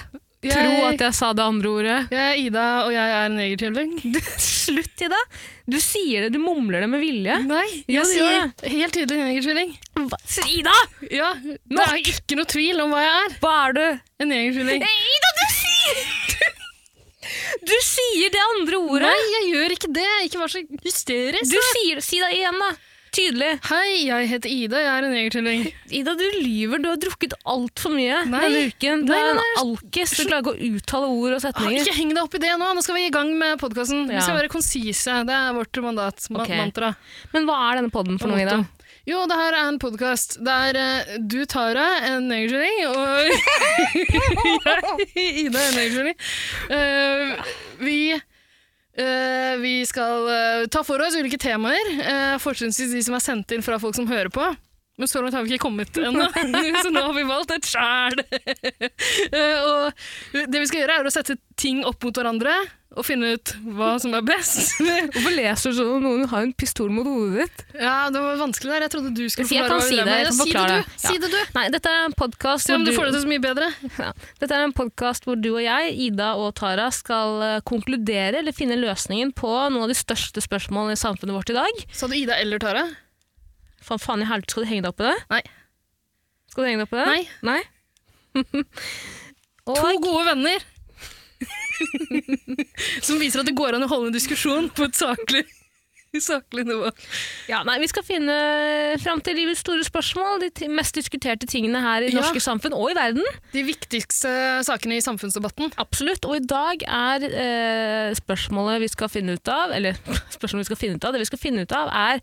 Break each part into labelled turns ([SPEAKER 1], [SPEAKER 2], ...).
[SPEAKER 1] Jeg-
[SPEAKER 2] tro at jeg sa det andre ordet.
[SPEAKER 1] Jeg er Ida, og jeg er en jegertvilling.
[SPEAKER 2] Du, slutt i det! Du sier det, du mumler det med vilje.
[SPEAKER 1] Nei,
[SPEAKER 2] Jo,
[SPEAKER 1] jeg
[SPEAKER 2] du gjør
[SPEAKER 1] sier helt tydelig en jegertvilling.
[SPEAKER 2] Hva? Ida!
[SPEAKER 1] Ja, det er ikke noe tvil om hva jeg er.
[SPEAKER 2] Hva er du?
[SPEAKER 1] En jegertvilling.
[SPEAKER 2] Ida, du sier Du sier det andre ordet!
[SPEAKER 1] Nei, jeg gjør ikke det. Ikke vær så hysterisk.
[SPEAKER 2] Du sier Si det igjen, da. Tydelig.
[SPEAKER 1] Hei, jeg heter Ida, jeg er en jegertvilling.
[SPEAKER 2] Ida, du lyver. Du har drukket altfor mye
[SPEAKER 1] Nei.
[SPEAKER 2] denne uken. Du
[SPEAKER 1] Nei,
[SPEAKER 2] er
[SPEAKER 1] nei,
[SPEAKER 2] en alkis. Du klarer ikke å uttale ord og
[SPEAKER 1] Ah,
[SPEAKER 2] setninger.
[SPEAKER 1] Ikke heng deg opp i det nå, nå skal vi i gang med podkasten.
[SPEAKER 2] Ja.
[SPEAKER 1] Vi skal være konsise, det er vårt mandat, ma
[SPEAKER 2] Ok.
[SPEAKER 1] mantra.
[SPEAKER 2] Men hva er denne podden for noe, Ida?
[SPEAKER 1] Jo, det her er en podkast der eh, du, Tara, en negerkylling, og jeg, Ida, en negerkylling. Eh, vi, eh, vi skal eh, ta for oss ulike temaer, uh, fortrinnsvis de som er sendt inn fra folk som hører på. Men så langt har vi ikke kommet ennå, så nå har vi valgt et sjæl. Eh, og det vi skal gjøre, er å sette ting opp mot hverandre og finne ut hva som er best.
[SPEAKER 2] Hvorfor leser du sånn om noen har en pistol mot hodet ditt?
[SPEAKER 1] ja, det var vanskelig der. Jeg trodde du skulle
[SPEAKER 2] Si, jeg
[SPEAKER 1] forklare
[SPEAKER 2] kan
[SPEAKER 1] hva
[SPEAKER 2] si det,
[SPEAKER 1] dilemmaet
[SPEAKER 2] jeg
[SPEAKER 1] er.
[SPEAKER 2] kan forklare det.
[SPEAKER 1] Si det, du! Si det, du!
[SPEAKER 2] Nei, dette er en podkast
[SPEAKER 1] Se om du får det til så mye bedre.
[SPEAKER 2] Ja. Dette er en podkast hvor du og jeg, Ida og Tara, skal eh, konkludere eller finne løsningen på noen av de største spørsmålene i samfunnet vårt i dag.
[SPEAKER 1] Sa du Ida eller Tara?
[SPEAKER 2] Faen, faen i helvete, skal du henge deg opp i det?
[SPEAKER 1] Nei.
[SPEAKER 2] Skal du henge deg opp i det?
[SPEAKER 1] Nei.
[SPEAKER 2] Nei? og,
[SPEAKER 1] To gode venner! Som viser at det går an å holde en diskusjon på et saklig, saklig nivå.
[SPEAKER 2] ja, nei, vi skal finne fram til livets store spørsmål, de ti- mest diskuterte tingene her i
[SPEAKER 1] Ja.
[SPEAKER 2] norske samfunn og i verden.
[SPEAKER 1] De viktigste sakene i samfunnsdebatten.
[SPEAKER 2] Absolutt. Og i dag er eh, spørsmålet vi skal finne ut av, eller spørsmålet vi skal finne ut av, det vi skal finne ut av er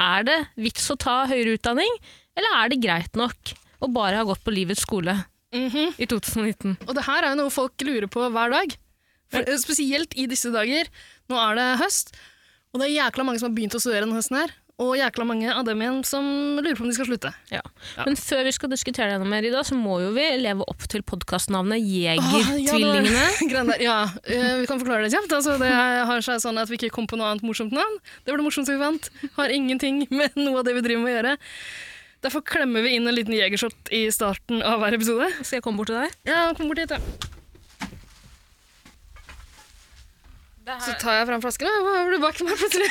[SPEAKER 2] er det vits å ta høyere utdanning, eller er det greit nok å bare ha gått på livets skole
[SPEAKER 1] Mhm.
[SPEAKER 2] i 2019?
[SPEAKER 1] Og det her er jo noe folk lurer på hver dag. For, eh, spesielt i disse dager. Nå er det høst, og det er jækla mange som har begynt å studere denne høsten her. Og jækla mange av dem igjen som lurer på om de skal slutte.
[SPEAKER 2] Ja.
[SPEAKER 1] Ja.
[SPEAKER 2] Men før vi skal diskutere det enda mer, Ida, så må jo vi leve opp til podkastnavnet Jegertvillingene.
[SPEAKER 1] Ah, ja, det- greiene der. Ja, eh, vi kan forklare det kjapt. Altså, det har seg sånn at vi ikke kom på noe annet morsomt navn. Det var det morsomste vi fant. Har ingenting med noe av det vi driver med å gjøre. Derfor klemmer vi inn en liten jegershot i starten av hver episode.
[SPEAKER 2] Skal jeg komme bort til deg?
[SPEAKER 1] Ja, kom bort hit, ja. Så tar jeg fram flasken. og Hva har du bak meg plutselig?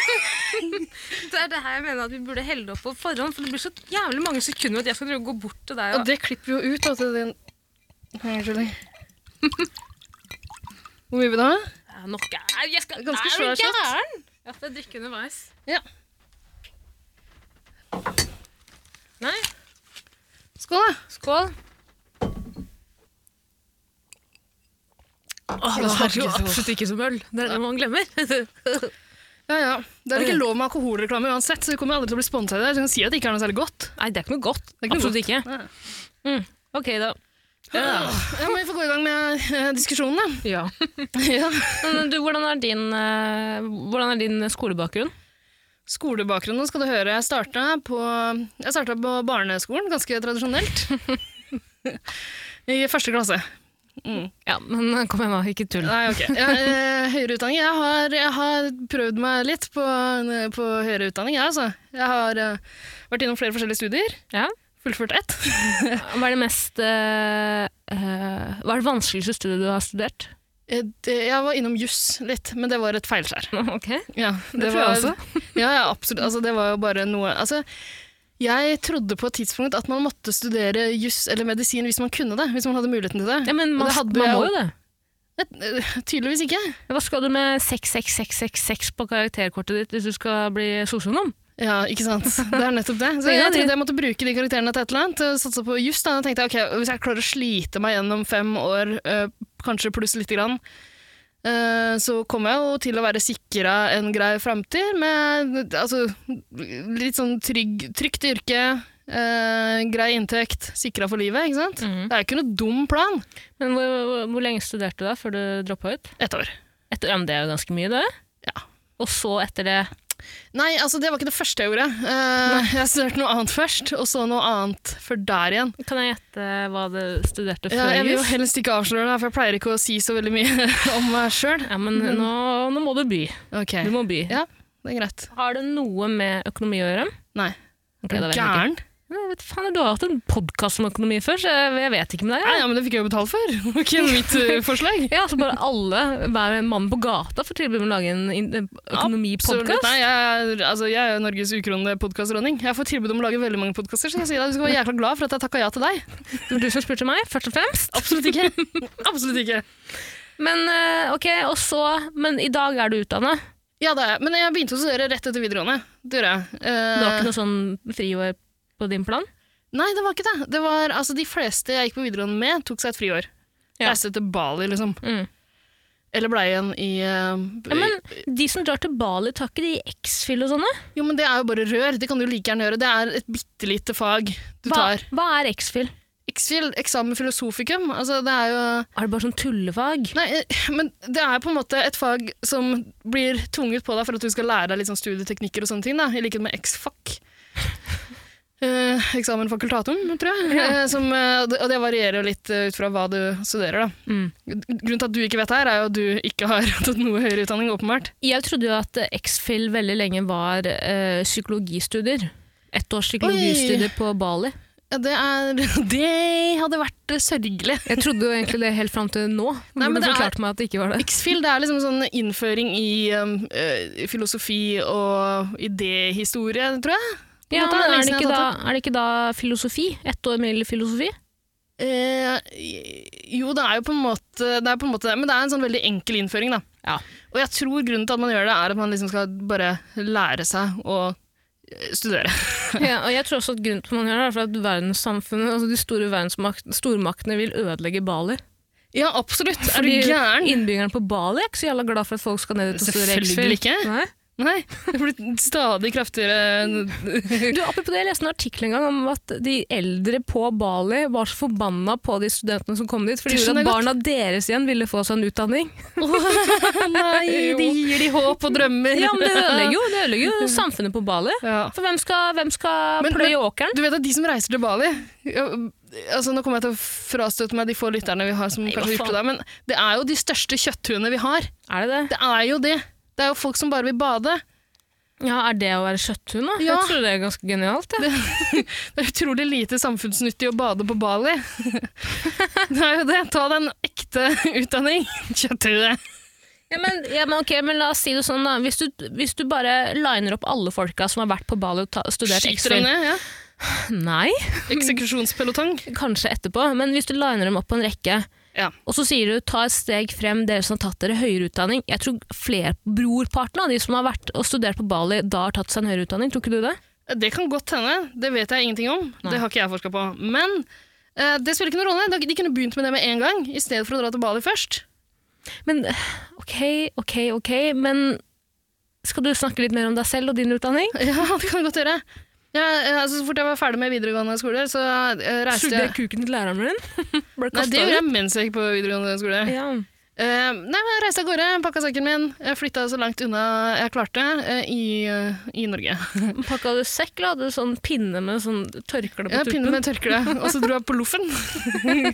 [SPEAKER 2] Det er det her jeg mener at vi burde helle opp på forhånd, for det blir så jævlig mange sekunder at jeg skal gå bort til deg
[SPEAKER 1] Og det klipper jo ut. Altså, den... Nei, Unnskyld. Hvor mye vil du ha?
[SPEAKER 2] Ja, nok er jeg skal,
[SPEAKER 1] Ganske
[SPEAKER 2] Nei, er du
[SPEAKER 1] svær shot.
[SPEAKER 2] gæren? Jeg skal drikke underveis.
[SPEAKER 1] Ja.
[SPEAKER 2] Nei,
[SPEAKER 1] Skål, da.
[SPEAKER 2] skål. Åh, det smaker jo absolutt ikke som øl. Det er det man glemmer. Nei,
[SPEAKER 1] Ja, ja. Det er ikke lov med alkoholreklame uansett, så vi kommer aldri til å bli sponset av det. Så vi kan si at det ikke er noe særlig godt.
[SPEAKER 2] det er ikke noe godt.
[SPEAKER 1] er ikke noe
[SPEAKER 2] absolutt ikke. Mm. Ok, da.
[SPEAKER 1] Ja, men vi får gå i gang med eh, diskusjonen, da.
[SPEAKER 2] Ja.
[SPEAKER 1] Ja.
[SPEAKER 2] Men du, hvordan er din, eh, hvordan er din skolebakgrunn?
[SPEAKER 1] Skolebakgrunnen skal du høre. Jeg starta på, jeg starta på barneskolen, ganske tradisjonelt. I første klasse. Mm.
[SPEAKER 2] Ja, men eh, kom igjen da, ikke tull.
[SPEAKER 1] Nei, ok. Ja, eh, høyere utdanning. Jeg har, jeg har prøvd meg litt på, eh, på høyere utdanning, jeg, altså. Jeg har eh, vært innom flere forskjellige studier.
[SPEAKER 2] Ja.
[SPEAKER 1] Fullført ett.
[SPEAKER 2] Hva er det mest eh, eh, Hva er det vanskeligste studiet du har studert?
[SPEAKER 1] Eh, det- Jeg var innom juss litt, men det var et feilskjær.
[SPEAKER 2] Ok,
[SPEAKER 1] Ja,
[SPEAKER 2] det tror
[SPEAKER 1] var,
[SPEAKER 2] jeg også.
[SPEAKER 1] Ja, ja, absolutt. Altså, det var jo bare noe altså, Jeg trodde på et tidspunkt at man måtte studere juss eller medisin hvis man kunne det. Hvis man hadde muligheten til det.
[SPEAKER 2] Ja, men man,
[SPEAKER 1] Det hadde
[SPEAKER 2] man
[SPEAKER 1] jeg
[SPEAKER 2] må jo det.
[SPEAKER 1] Eh, Tydeligvis ikke.
[SPEAKER 2] Hva skal du med 66666 på karakterkortet ditt hvis du skal bli sosionom?
[SPEAKER 1] Ja, ikke sant. Det er nettopp det. Så
[SPEAKER 2] Ja,
[SPEAKER 1] jeg
[SPEAKER 2] de-
[SPEAKER 1] trodde jeg måtte bruke de karakterene til et eller annet. og Satsa på just da. Da tenkte jeg, ok, Hvis jeg klarer å slite meg gjennom fem år, eh, kanskje pluss lite grann, eh, så kommer jeg jo til å være sikra en grei framtid med altså, litt sånn trygg, trygt yrke, eh, grei inntekt, sikra for livet, ikke sant? Det er jo ikke noe dum plan.
[SPEAKER 2] Men hvor, hvor, hvor lenge studerte du da før du droppa ut?
[SPEAKER 1] Ett år.
[SPEAKER 2] Etter, ja, men det er jo ganske mye, det.
[SPEAKER 1] Ja.
[SPEAKER 2] Og så etter det
[SPEAKER 1] Nei, altså det var ikke det første jeg gjorde. Eh, jeg studerte noe annet først, og så noe annet før der igjen.
[SPEAKER 2] Kan jeg gjette hva du studerte
[SPEAKER 1] Ja,
[SPEAKER 2] før
[SPEAKER 1] jeg vil jo
[SPEAKER 2] jus?
[SPEAKER 1] helst ikke avsløre det, for jeg pleier ikke å si så veldig mye om meg sjøl.
[SPEAKER 2] Ja, men nå, nå må du by.
[SPEAKER 1] Ok,
[SPEAKER 2] Du må by.
[SPEAKER 1] Ja. det er greit.
[SPEAKER 2] Har det noe med økonomi å gjøre?
[SPEAKER 1] Nei.
[SPEAKER 2] Ok, da vet jeg ikke.
[SPEAKER 1] Gæren?
[SPEAKER 2] Nei, vet faen, du har hatt en podkast om økonomi før, så jeg, jeg vet ikke med deg.
[SPEAKER 1] Nei,
[SPEAKER 2] jeg.
[SPEAKER 1] ja, men det fikk jeg jo betalt for. Det var ikke mitt eh, forslag.
[SPEAKER 2] Ja, altså bare alle, hver mann på gata får tilbud om å lage en in-
[SPEAKER 1] Absolutt.
[SPEAKER 2] økonomipodkast.
[SPEAKER 1] Nei, jeg, er- altså, jeg er jo Norges ukronede podkastdronning. Jeg får tilbud om å lage veldig mange podkaster, så jeg sier deg, du skal være jækla glad for at jeg takka ja til deg.
[SPEAKER 2] Det var du som spurte meg, først og fremst.
[SPEAKER 1] Absolutt ikke. Absolutt ikke.
[SPEAKER 2] Men eh, ok, og så Men i dag er du utdanna.
[SPEAKER 1] Ja, det er jeg. Men jeg begynte å studere rett etter videregående. Det gjorde jeg. Eh,
[SPEAKER 2] Du har ikke noe sånn friår på din plan?
[SPEAKER 1] Nei, det var ikke det. det var, altså, de fleste jeg gikk på videregående med, tok seg et friår.
[SPEAKER 2] Ja.
[SPEAKER 1] Reiste til Bali, liksom.
[SPEAKER 2] Mm.
[SPEAKER 1] Eller ble igjen i eh,
[SPEAKER 2] Ja, men de som drar til Bali, tar ikke de X-fill og sånne?
[SPEAKER 1] Jo, men det er jo bare rør. Det kan du like gjerne gjøre. Det er et bitte lite fag du
[SPEAKER 2] Hva,
[SPEAKER 1] tar.
[SPEAKER 2] hva er X-fill?
[SPEAKER 1] Exfil, eksamen filosofikum, altså det er jo
[SPEAKER 2] Er det bare sånn tullefag?
[SPEAKER 1] Nei, eh, men det er på en måte et fag som blir tvunget på deg for at du skal lære deg litt sånn studieteknikker og sånne ting, da, i likhet med ex-fac. Eh, eksamen fakultatum, tror jeg. Eh, som, eh, og det- og det varierer jo litt eh, ut fra hva du studerer, da.
[SPEAKER 2] Mm.
[SPEAKER 1] Grunnen til at du ikke vet det her, er jo at du ikke har tatt noe høyere utdanning, åpenbart.
[SPEAKER 2] Jeg trodde jo at X-fill veldig lenge var eh, psykologistudier. Ett års psykologistudier på Bali.
[SPEAKER 1] Ja, Det, er, det hadde vært eh, sørgelig.
[SPEAKER 2] Jeg trodde jo egentlig det helt fram til nå.
[SPEAKER 1] Nei,
[SPEAKER 2] Nei,
[SPEAKER 1] men
[SPEAKER 2] men du
[SPEAKER 1] det er-
[SPEAKER 2] forklarte meg at det ikke var det.
[SPEAKER 1] X-Fill det er liksom sånn innføring i um, eh, filosofi og idéhistorie, tror jeg. på en
[SPEAKER 2] Ja,
[SPEAKER 1] måte.
[SPEAKER 2] men
[SPEAKER 1] Lenge
[SPEAKER 2] er det,
[SPEAKER 1] siden jeg
[SPEAKER 2] ikke da,
[SPEAKER 1] har tatt
[SPEAKER 2] er det ikke da filosofi? Ett år med filosofi?
[SPEAKER 1] Eh, jo, det er jo på en måte det, er på en måte det men det er en sånn veldig enkel innføring, da.
[SPEAKER 2] Ja.
[SPEAKER 1] Og jeg tror grunnen til at man gjør det, er at man liksom skal bare lære seg å eh, studere.
[SPEAKER 2] Ja, og jeg tror også at grunnen til at man gjør det, er for at verdenssamfunnet, altså de store verdensmakt, stormaktene vil ødelegge Bali.
[SPEAKER 1] Ja, absolutt. Er
[SPEAKER 2] Fordi
[SPEAKER 1] du gæren?
[SPEAKER 2] Innbyggerne på Bali er ikke så jævla glad for at folk skal ned dit og studere
[SPEAKER 1] Selvfølgelig
[SPEAKER 2] X-Fill.
[SPEAKER 1] ikke.
[SPEAKER 2] Nei.
[SPEAKER 1] Nei, det blir stadig kraftigere
[SPEAKER 2] Du, apropos det, jeg leste en artikkel en gang om at de eldre på Bali var så forbanna på de studentene som kom dit, for
[SPEAKER 1] Det
[SPEAKER 2] de gjorde
[SPEAKER 1] skjønner jeg
[SPEAKER 2] at barna deres igjen ville få seg en utdanning.
[SPEAKER 1] Nei, de gir de håp og drømmer.
[SPEAKER 2] Ja, men det ødelegger jo, det ødelegger jo samfunnet på Bali.
[SPEAKER 1] Ja.
[SPEAKER 2] For hvem skal, hvem skal
[SPEAKER 1] Men-
[SPEAKER 2] pløye åkeren?
[SPEAKER 1] Du vet at de som reiser til Bali ja, altså Nå kommer jeg til å frastøte meg de få lytterne vi har, som
[SPEAKER 2] Nei, hva
[SPEAKER 1] kanskje har gjort det der, men det er jo de største kjøtthuene vi har.
[SPEAKER 2] Er det det?
[SPEAKER 1] Det er jo det. Det er jo folk som bare vil bade.
[SPEAKER 2] Ja, Er det å være kjøtthund, da?
[SPEAKER 1] Ja.
[SPEAKER 2] Jeg tror det er ganske genialt. Ja.
[SPEAKER 1] Det er utrolig lite samfunnsnyttig å bade på Bali. Det er jo det. Ta deg en ekte utdanning. Kjøtthue.
[SPEAKER 2] Ja, men, ja, men, ok, men la oss si det sånn, da. Hvis du, hvis du bare liner opp alle folka som har vært på Bali og ta, studert
[SPEAKER 1] Skyter
[SPEAKER 2] X-Fill
[SPEAKER 1] dem ned. Ja.
[SPEAKER 2] Nei,
[SPEAKER 1] Eksekusjonspelotong.
[SPEAKER 2] kanskje etterpå, men hvis du liner dem opp på en rekke,
[SPEAKER 1] Ja.
[SPEAKER 2] og så sier du ta et steg frem, dere som har tatt dere høyere utdanning Jeg tror flere, brorparten av de som har vært og studert på Bali, da har tatt seg en høyere utdanning, tror ikke du det?
[SPEAKER 1] Det kan godt hende. Det vet jeg ingenting om.
[SPEAKER 2] Nei.
[SPEAKER 1] Det har ikke jeg forska på. Men eh, det spiller ikke noen rolle. De kunne begynt med det med en gang, i stedet for å dra til Bali først.
[SPEAKER 2] Men ok, ok, ok, men skal du snakke litt mer om deg selv og din utdanning?
[SPEAKER 1] Ja, det kan vi godt gjøre. Ja, eh, altså, så fort jeg var ferdig med videregående skole, så eh, reiste
[SPEAKER 2] Sugde jeg
[SPEAKER 1] jeg
[SPEAKER 2] kuken til læreren min? Ble
[SPEAKER 1] Nei,
[SPEAKER 2] kastet
[SPEAKER 1] det gjorde
[SPEAKER 2] ut?
[SPEAKER 1] jeg mens jeg gikk på videregående skole.
[SPEAKER 2] Ja.
[SPEAKER 1] Eh, nei, men jeg reiste av gårde, pakka sekken min, jeg flytta så langt unna jeg klarte, eh, i, eh, i Norge.
[SPEAKER 2] Pakka du sekk, eller hadde du sånn pinne med sånn tørkle på
[SPEAKER 1] Jeg pinne
[SPEAKER 2] tuppen?
[SPEAKER 1] med tørkle, og så dro jeg på Loffen.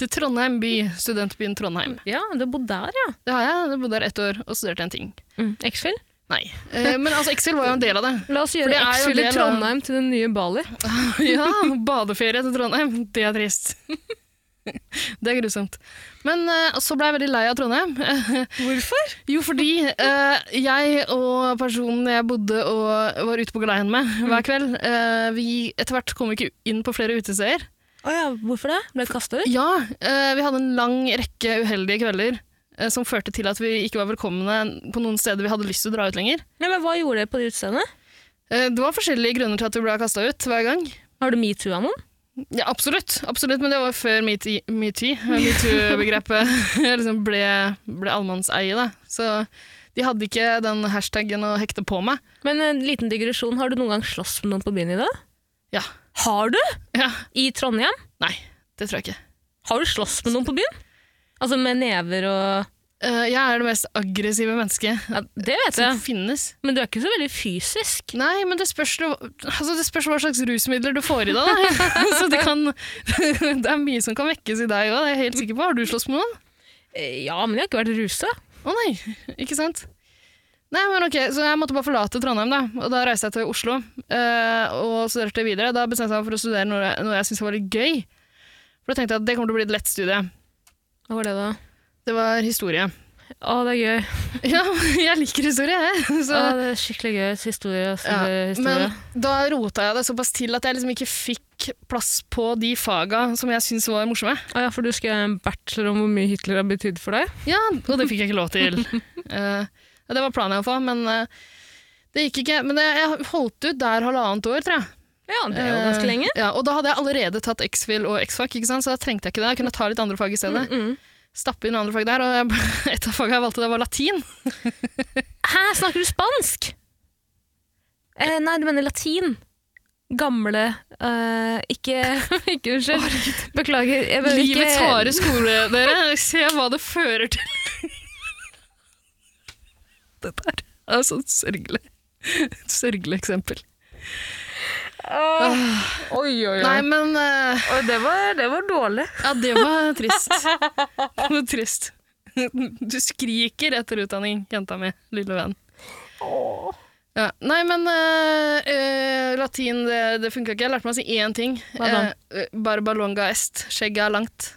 [SPEAKER 1] Til Trondheim by, studentbyen Trondheim.
[SPEAKER 2] Ja, du bodde der, ja.
[SPEAKER 1] Det har jeg, jeg bodde der ett år og studerte en ting.
[SPEAKER 2] Mm. X-Fill?
[SPEAKER 1] Nei. Eh, men altså, Excel var jo en del av det.
[SPEAKER 2] La oss
[SPEAKER 1] For det
[SPEAKER 2] gjøre
[SPEAKER 1] er jo
[SPEAKER 2] X-Fill i
[SPEAKER 1] det, da.
[SPEAKER 2] Trondheim til den nye Bali.
[SPEAKER 1] Ja, badeferie til Trondheim, det er trist. Det er grusomt. Men eh, så ble jeg veldig lei av Trondheim.
[SPEAKER 2] Hvorfor?
[SPEAKER 1] Jo, fordi eh, jeg og personen jeg bodde og var ute på galeien med hver kveld, eh, vi etter hvert kom ikke inn på flere utesteder.
[SPEAKER 2] Å ja, hvorfor det? Ble du kasta ut?
[SPEAKER 1] Ja, eh, vi hadde en lang rekke uheldige kvelder eh, som førte til at vi ikke var velkomne på noen steder vi hadde lyst til å dra ut lenger.
[SPEAKER 2] Nei, men Hva gjorde dere på det utestedet?
[SPEAKER 1] Eh, det var forskjellige grunner til at vi ble kasta ut hver gang.
[SPEAKER 2] Har du metoo av noen?
[SPEAKER 1] Ja, absolutt, absolutt, men det var før metoo metoo- metoo-begrepet liksom ble, ble allmannseie. da. Så de hadde ikke den hashtaggen å hekte på meg.
[SPEAKER 2] Men en liten digresjon, har du noen gang slåss med noen på byen i dag?
[SPEAKER 1] Ja.
[SPEAKER 2] Har du?
[SPEAKER 1] Ja,
[SPEAKER 2] I Trondheim?
[SPEAKER 1] Nei, det tror jeg ikke.
[SPEAKER 2] Har du slåss med noen på byen? Altså med never og
[SPEAKER 1] Eh, jeg er det mest aggressive mennesket
[SPEAKER 2] ja, Det vet
[SPEAKER 1] som
[SPEAKER 2] jeg,
[SPEAKER 1] finnes.
[SPEAKER 2] men du er ikke så veldig fysisk.
[SPEAKER 1] Nei, men det spørs, jo- altså det spørs hva slags rusmidler du får i deg. Da. Så det, kan, det er mye som kan vekkes i deg òg, det er jeg helt sikker på. Har du slåss med noen?
[SPEAKER 2] Eh, Ja, men jeg har ikke vært rusa.
[SPEAKER 1] Å nei, ikke sant? Nei, men ok, Så jeg måtte bare forlate Trondheim, da. Og da reiste jeg til Oslo eh, og studerte videre. Da bestemte jeg meg for å studere noe jeg, noe jeg syntes var litt gøy. For da tenkte jeg at det kommer til å bli et lett studie.
[SPEAKER 2] Hva var det, da?
[SPEAKER 1] Det var historie.
[SPEAKER 2] Å, det er gøy.
[SPEAKER 1] Ja, jeg liker historie, jeg.
[SPEAKER 2] Å,
[SPEAKER 1] Så
[SPEAKER 2] det er skikkelig gøy. Historie og
[SPEAKER 1] Ja,
[SPEAKER 2] studiehistorie.
[SPEAKER 1] men da rota jeg det såpass til at jeg liksom ikke fikk plass på de faga som jeg syntes var morsomme.
[SPEAKER 2] Å ja, for du skal gjøre en bachelor om hvor mye Hitler har betydd for deg?
[SPEAKER 1] Ja, og det fikk jeg ikke lov til. Eh, ja, det var planen jeg å få, men eh, det gikk ikke. Men det, jeg holdt ut der halvannet år, tror jeg.
[SPEAKER 2] Ja, det er jo ganske
[SPEAKER 1] Eh,
[SPEAKER 2] lenge.
[SPEAKER 1] Ja, og da hadde jeg allerede tatt X-Fil og X-Fac, ikke sant? så da trengte jeg ikke det. Jeg kunne ta litt andre fag i stedet.
[SPEAKER 2] Mm.
[SPEAKER 1] Stappe inn andre fag der, og jeg, et av fagene jeg valgte, det var latin.
[SPEAKER 2] Hæ, snakker du spansk? Eh, nei, du mener latin. Gamle eh, Ikke Ikke unnskyld. Beklager. Jeg mener ikke-
[SPEAKER 1] Livets harde skole, dere. Se hva det fører til. det der er et sånt sørgelig, et sørgelig eksempel.
[SPEAKER 2] Åh, Oi, oi, oi.
[SPEAKER 1] Nei, men eh,
[SPEAKER 2] Oi, det, var, det var dårlig.
[SPEAKER 1] Ja, det var trist. Det var trist. Du skriker etter utdanning, jenta mi, lille venn. Ja. Nei, men eh, eh, latin, det, det funka ikke. Jeg lærte meg å si én ting.
[SPEAKER 2] Hva da?
[SPEAKER 1] Eh, barba longa est. Skjegget er langt.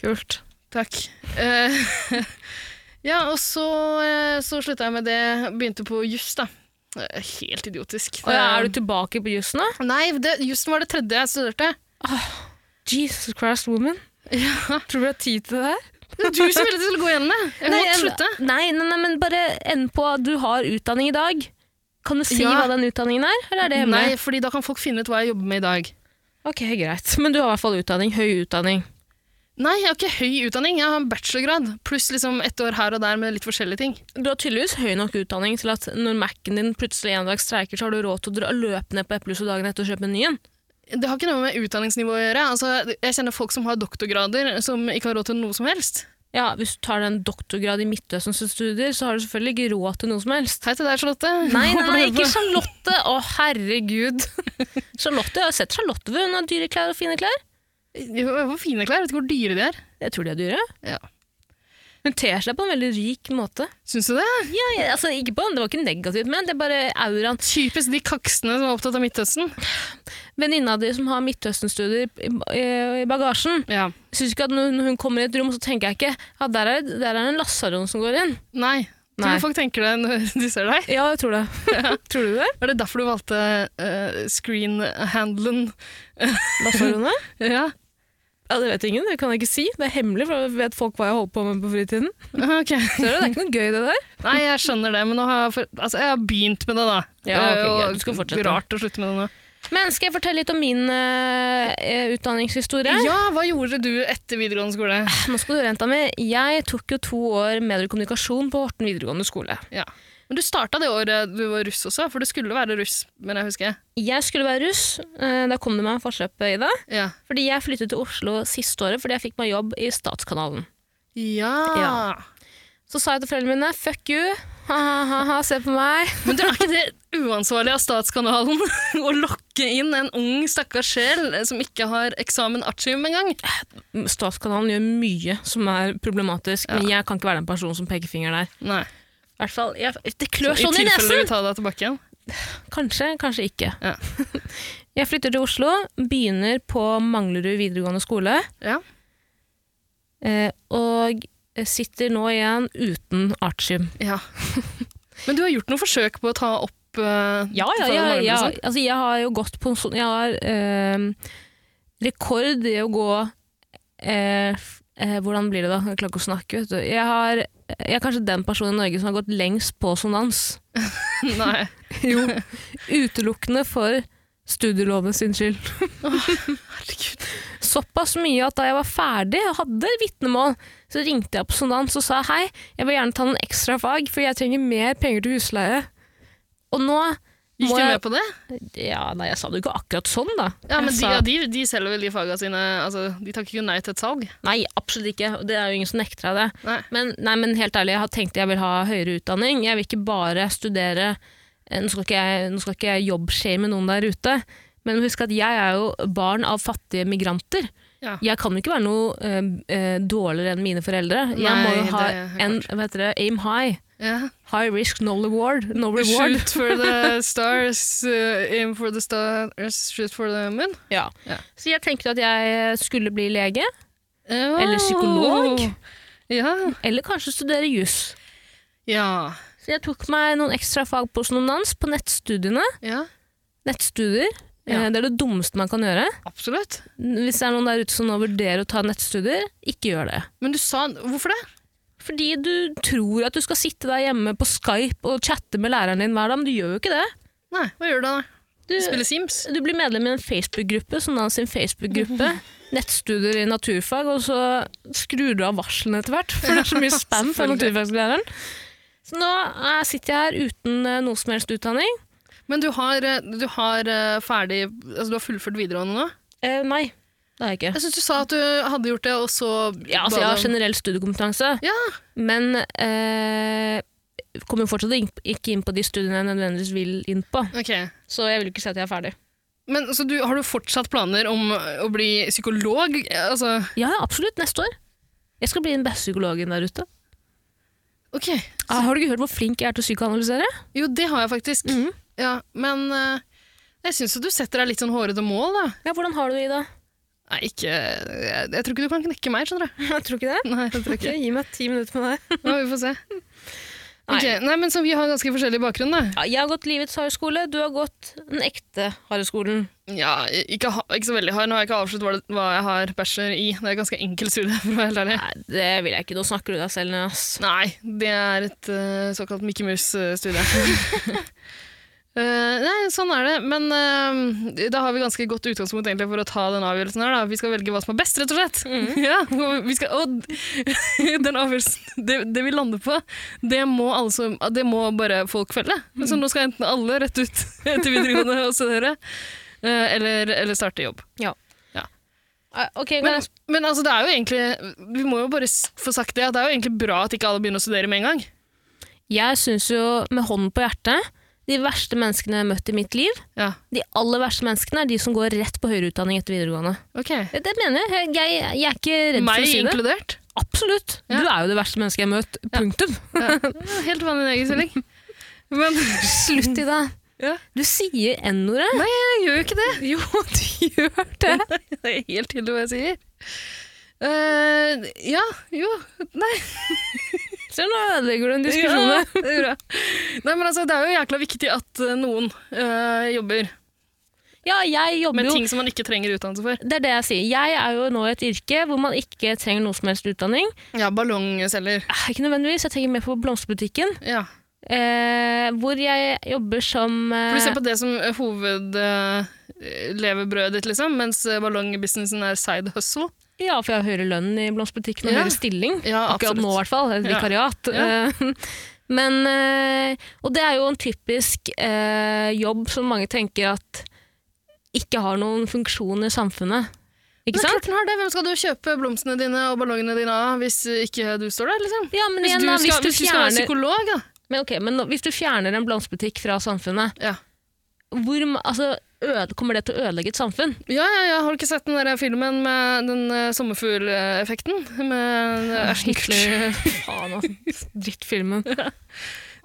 [SPEAKER 2] Kult.
[SPEAKER 1] Takk. Eh, ja, og så, eh, så slutta jeg med det. Begynte på juss, da. Eh, Helt idiotisk.
[SPEAKER 2] Og ja, er du tilbake på jussen, da?
[SPEAKER 1] Nei, det, jussen var det tredje jeg studerte.
[SPEAKER 2] Jesus Christ, woman.
[SPEAKER 1] Ja.
[SPEAKER 2] Tror du vi har tid til det her?
[SPEAKER 1] Det var Du som ville at jeg skulle gå gjennom det! Jeg måtte slutte.
[SPEAKER 2] Nei, nei, nei, men bare end på at du har utdanning i dag. Kan du si
[SPEAKER 1] Ja.
[SPEAKER 2] hva den utdanningen er, eller er det hemmelig?
[SPEAKER 1] Nei, fordi da kan folk finne ut hva jeg jobber med i dag.
[SPEAKER 2] Ok, greit. Men du har i hvert fall utdanning. Høy utdanning.
[SPEAKER 1] Nei, jeg har ikke høy utdanning. Jeg har en bachelorgrad, pluss liksom ett år her og der med litt forskjellige ting.
[SPEAKER 2] Du har tydeligvis høy nok utdanning til at når Mac-en din plutselig en dag streiker, så har du råd til å dra- løpe ned på Eplehuset dagen etter og kjøpe en ny en.
[SPEAKER 1] Det har ikke noe med utdanningsnivå å gjøre. Altså, jeg kjenner folk som har doktorgrader, som ikke har råd til noe som helst.
[SPEAKER 2] Ja, hvis du tar deg en doktorgrad i Midtøstens studier, så har du selvfølgelig ikke råd til noe som helst.
[SPEAKER 1] Hei til deg, Charlotte.
[SPEAKER 2] Nei, nei, nei, ikke Charlotte! Å, herregud. Charlotte, Jeg har sett Charlotte før. Hun har dyre klær og fine klær.
[SPEAKER 1] Jeg får fine klær, vet ikke hvor dyre de er.
[SPEAKER 2] Jeg tror de er dyre.
[SPEAKER 1] Ja.
[SPEAKER 2] Hun ter seg på en veldig rik måte.
[SPEAKER 1] Syns du det?
[SPEAKER 2] Ja, ja, altså, ikke på, Det var ikke negativt ment, det er bare auraen.
[SPEAKER 1] Typisk de kaksene som er opptatt av Midtøsten.
[SPEAKER 2] Venninna di som har Midtøsten-studier i- i i bagasjen,
[SPEAKER 1] Ja.
[SPEAKER 2] syns ikke at når hun- hun kommer i et rom, så tenker jeg ikke ja, der er, der er en lasaron som går inn.
[SPEAKER 1] Nei. Tror
[SPEAKER 2] Nei.
[SPEAKER 1] du folk tenker det når de ser deg?
[SPEAKER 2] Ja, jeg tror det. tror du det?
[SPEAKER 1] Var det derfor du valgte eh, screen-handelen?
[SPEAKER 2] Lasaronet?
[SPEAKER 1] Ja.
[SPEAKER 2] Ja, det vet ingen, det kan jeg ikke si. Det er hemmelig, for da vet folk hva jeg holder på med på fritiden.
[SPEAKER 1] Ok.
[SPEAKER 2] Så det er ikke noe gøy, det der.
[SPEAKER 1] Nei, jeg skjønner det, men nå har jeg, for, altså, jeg har begynt med det, da.
[SPEAKER 2] Ja, ok,
[SPEAKER 1] Eh, og
[SPEAKER 2] greit, du skal fortsette.
[SPEAKER 1] Rart å slutte med det nå.
[SPEAKER 2] Men skal jeg fortelle litt om min eh, eh, utdanningshistorie?
[SPEAKER 1] Ja, hva gjorde du etter videregående skole?
[SPEAKER 2] Ah. Nå skal du høre jenta mi. Jeg tok jo to år mediekommunikasjon på Horten videregående skole.
[SPEAKER 1] Ja. Men du starta det året du var russ også, for du skulle være russ, men jeg husker.
[SPEAKER 2] Jeg skulle være russ, eh, da kom det meg en forsløpet i det.
[SPEAKER 1] Ja.
[SPEAKER 2] Fordi jeg flyttet til Oslo siste året fordi jeg fikk meg jobb i Statskanalen.
[SPEAKER 1] ja.
[SPEAKER 2] Ja. Så sa jeg til foreldrene mine 'fuck you', ha-ha-ha, se på meg.
[SPEAKER 1] Men det er ikke det uansvarlig av Statskanalen å lokke inn en ung, stakkars sjel eh, som ikke har eksamen artium engang?
[SPEAKER 2] Statskanalen gjør mye som er problematisk, men jeg kan ikke være den personen som peker finger der.
[SPEAKER 1] Nei.
[SPEAKER 2] I hvert fall, jeg, Det klør
[SPEAKER 1] I
[SPEAKER 2] sånn i
[SPEAKER 1] tilfelle
[SPEAKER 2] nesen!
[SPEAKER 1] du tar deg tilbake igjen.
[SPEAKER 2] Kanskje, kanskje ikke.
[SPEAKER 1] Ja.
[SPEAKER 2] jeg flytter til Oslo, begynner på Manglerud videregående skole,
[SPEAKER 1] Ja.
[SPEAKER 2] eh, og sitter nå igjen uten artium.
[SPEAKER 1] ja. Men du har gjort noen forsøk på å ta opp eh,
[SPEAKER 2] Ja,
[SPEAKER 1] ta
[SPEAKER 2] ja, ja,
[SPEAKER 1] den varmen,
[SPEAKER 2] ja.
[SPEAKER 1] liksom.
[SPEAKER 2] Altså, jeg har jo gått på en sånn Jeg har ehm, rekord i å gå eh, f- eh, Hvordan blir det da? Jeg klarer ikke å snakke, vet du. Jeg, har, jeg er kanskje den personen i Norge som har gått lengst på sånn sondans.
[SPEAKER 1] Nei.
[SPEAKER 2] Jo. Utelukkende for studieloven sin skyld.
[SPEAKER 1] Herregud.
[SPEAKER 2] Såpass mye at da jeg var ferdig og hadde vitnemål, så ringte jeg på sondans og sa hei, jeg vil gjerne ta noen ekstra fag, for jeg trenger mer penger til husleie. Og nå
[SPEAKER 1] Gikk
[SPEAKER 2] Må
[SPEAKER 1] de
[SPEAKER 2] jeg-
[SPEAKER 1] med på det?
[SPEAKER 2] Ja, nei, jeg sa det jo ikke akkurat sånn, da.
[SPEAKER 1] Ja,
[SPEAKER 2] Jeg
[SPEAKER 1] men de,
[SPEAKER 2] sa,
[SPEAKER 1] ja, de, de selger vel de faga sine altså, De takker ikke nei til et salg.
[SPEAKER 2] Nei, absolutt ikke. og Det er jo ingen som nekter deg det.
[SPEAKER 1] Nei.
[SPEAKER 2] Men, nei, men helt ærlig, jeg har tenkt jeg vil ha høyere utdanning. Jeg vil ikke bare studere eh, Nå skal ikke jeg, nå skal ikke jeg jobbshame noen der ute, men husk at jeg er jo barn av fattige migranter.
[SPEAKER 1] Ja.
[SPEAKER 2] Jeg kan jo ikke være noe eh, eh, dårligere enn mine foreldre. jeg
[SPEAKER 1] Nei,
[SPEAKER 2] må jo ha
[SPEAKER 1] det er
[SPEAKER 2] en hva heter det, aim high.
[SPEAKER 1] Ja.
[SPEAKER 2] High risk, no reward. No reward.
[SPEAKER 1] Shoot for the stars, uh, aim for the stars, shoot for the moon.
[SPEAKER 2] Ja.
[SPEAKER 1] Ja.
[SPEAKER 2] Så jeg tenker at jeg skulle bli lege,
[SPEAKER 1] Oh.
[SPEAKER 2] Eller psykolog.
[SPEAKER 1] Ja.
[SPEAKER 2] eller kanskje studere juss.
[SPEAKER 1] Ja.
[SPEAKER 2] Så jeg tok meg noen ekstra fag på sononans på nettstudiene.
[SPEAKER 1] ja.
[SPEAKER 2] Nettstudier.
[SPEAKER 1] Ja.
[SPEAKER 2] eh, Det er det dummeste man kan gjøre.
[SPEAKER 1] Absolutt.
[SPEAKER 2] Hvis det er noen der ute som nå vurderer å ta nettstudier, ikke gjør det.
[SPEAKER 1] Men du sa Hvorfor det?
[SPEAKER 2] Fordi du tror at du skal sitte der hjemme på Skype og chatte med læreren din hver dag, men du gjør jo ikke det.
[SPEAKER 1] Nei, hva gjør du da?
[SPEAKER 2] Du,
[SPEAKER 1] Du spiller Sims?
[SPEAKER 2] du blir medlem i en Facebook-gruppe, sånn hans sin Facebook-gruppe. Nettstudier i naturfag, og så skrur du av varslene etter hvert, for det er så mye spam fra
[SPEAKER 1] Selvfølgelig.
[SPEAKER 2] naturfaglæreren. Så nå eh, sitter jeg her uten eh, noe som helst utdanning.
[SPEAKER 1] Men du har, eh, du har eh, ferdig Altså, du har fullført videregående nå?
[SPEAKER 2] Eh, nei, det har jeg ikke.
[SPEAKER 1] Jeg syns du sa at du hadde gjort det, og så
[SPEAKER 2] Ja, altså
[SPEAKER 1] ba
[SPEAKER 2] jeg har
[SPEAKER 1] du om-
[SPEAKER 2] generell studiekompetanse,
[SPEAKER 1] Ja.
[SPEAKER 2] men eh, kommer fortsatt inn- ikke inn på de studiene jeg nødvendigvis vil inn på.
[SPEAKER 1] Ok.
[SPEAKER 2] Så jeg vil ikke si at jeg er ferdig.
[SPEAKER 1] Men så du, har du fortsatt planer om å bli psykolog? Altså,
[SPEAKER 2] Ja, absolutt. Neste år. Jeg skal bli den beste psykologen der ute.
[SPEAKER 1] ok.
[SPEAKER 2] Ah, har du ikke hørt hvor flink jeg er til å psykoanalysere?
[SPEAKER 1] Jo, det har jeg faktisk.
[SPEAKER 2] Mhm.
[SPEAKER 1] Ja, men eh, jeg syns du setter deg litt sånn hårete mål, da.
[SPEAKER 2] Ja, Hvordan har du det, Ida?
[SPEAKER 1] Nei, ikke Jeg, jeg tror ikke du kan knekke meg, skjønner du.
[SPEAKER 2] Jeg tror ikke det.
[SPEAKER 1] Nei, jeg tror ikke.
[SPEAKER 2] Gi meg ti minutter med deg.
[SPEAKER 1] Ja, vi får se.
[SPEAKER 2] Nei.
[SPEAKER 1] Ok, nei, men så vi har ganske forskjellig bakgrunn, da.
[SPEAKER 2] Ja, jeg har gått livets harde skole, du har gått den ekte harde skolen.
[SPEAKER 1] Ja, ikke, ha- ikke så veldig hard. Nå har jeg ikke avsluttet hva, det- hva jeg har bachelor i. Det er et ganske enkelt studie, for å være helt ærlig.
[SPEAKER 2] Nei, det vil jeg ikke. Nå snakker du deg selv ned, ass.
[SPEAKER 1] Nei, det er et eh, såkalt Mickey Mouse-studie. Eh, nei, sånn er det, men eh, da har vi ganske godt utgangspunkt egentlig for å ta den avgjørelsen her. Da. Vi skal velge hva som er best, rett og slett. Ja, og vi skal, og den avgjørelsen, det, det vi lander på, det må, alle som- det må bare folk følge. Så nå skal enten alle rett ut etter videregående og studere, eh, eller, eller starte jobb.
[SPEAKER 2] Ah, Ok, kan
[SPEAKER 1] Men,
[SPEAKER 2] jeg
[SPEAKER 1] men altså, det er jo egentlig, vi må jo bare s- få sagt det, at det er jo egentlig bra at ikke alle begynner å studere med en gang.
[SPEAKER 2] Jeg syns jo, med hånden på hjertet, de verste menneskene jeg har møtt i mitt liv,
[SPEAKER 1] Ja,
[SPEAKER 2] de aller verste menneskene er de som går rett på høyere utdanning etter videregående.
[SPEAKER 1] ok.
[SPEAKER 2] Det- Det mener jeg. Jeg, jeg, jeg er ikke redd for
[SPEAKER 1] Meg
[SPEAKER 2] å si det.
[SPEAKER 1] inkludert.
[SPEAKER 2] Absolutt.
[SPEAKER 1] Ja.
[SPEAKER 2] Du er jo det verste mennesket jeg har møtt. Punktum.
[SPEAKER 1] Helt vanlig negerselling. Men
[SPEAKER 2] Slutt i det.
[SPEAKER 1] Ja.
[SPEAKER 2] Du sier N-ordet.
[SPEAKER 1] jeg gjør jo ikke det.
[SPEAKER 2] Jo, du gjør det.
[SPEAKER 1] Det er helt tydelig hva jeg sier. Eh, ja, jo Nei.
[SPEAKER 2] Se, nå ødelegger du en diskusjon.
[SPEAKER 1] Ja,
[SPEAKER 2] der.
[SPEAKER 1] det er bra. Nei, men altså, det er jo jækla viktig at eh, noen eh, jobber
[SPEAKER 2] Ja, jeg jobber
[SPEAKER 1] med
[SPEAKER 2] jo
[SPEAKER 1] ting som man ikke trenger utdannelse for.
[SPEAKER 2] Det er det jeg sier. Jeg er jo nå i et yrke hvor man ikke trenger noe som helst utdanning.
[SPEAKER 1] Ja, ballongselger.
[SPEAKER 2] Eh, Ikke nødvendigvis. Jeg tenker mer på blomsterbutikken,
[SPEAKER 1] Ja.
[SPEAKER 2] eh, hvor jeg jobber som eh,
[SPEAKER 1] For du ser på det som hovedlevebrødet ditt, liksom, mens eh, ballongbusinessen er side hustle.
[SPEAKER 2] Ja, for jeg har høyere lønn i blomsterbutikken og
[SPEAKER 1] Ja.
[SPEAKER 2] høyere stilling.
[SPEAKER 1] Ja,
[SPEAKER 2] Akkurat nå, i hvert fall. Et
[SPEAKER 1] Ja.
[SPEAKER 2] vikariat.
[SPEAKER 1] Ja.
[SPEAKER 2] Eh, Men, eh, og det er jo en typisk eh, jobb som mange tenker at ikke har noen funksjon i samfunnet. Ikke
[SPEAKER 1] Men
[SPEAKER 2] sant?
[SPEAKER 1] klart den har det. Hvem skal du kjøpe blomstene dine og ballongene dine av hvis ikke du står der? liksom?
[SPEAKER 2] Ja, men
[SPEAKER 1] Hvis
[SPEAKER 2] igjen,
[SPEAKER 1] du
[SPEAKER 2] da,
[SPEAKER 1] skal,
[SPEAKER 2] hvis du
[SPEAKER 1] hvis du skal være
[SPEAKER 2] fjerner-
[SPEAKER 1] psykolog, da.
[SPEAKER 2] Men ok, men nå- hvis du fjerner en blomsterbutikk fra samfunnet,
[SPEAKER 1] Ja.
[SPEAKER 2] hvor, ma- altså, øde, kommer det til å ødelegge et samfunn?
[SPEAKER 1] Ja, ja, ja. Har du ikke sett den der filmen med den uh, sommerfugleffekten? Med eh, Ashton Kutcher.
[SPEAKER 2] Ah, Hitler. Faen, altså. Drittfilmen.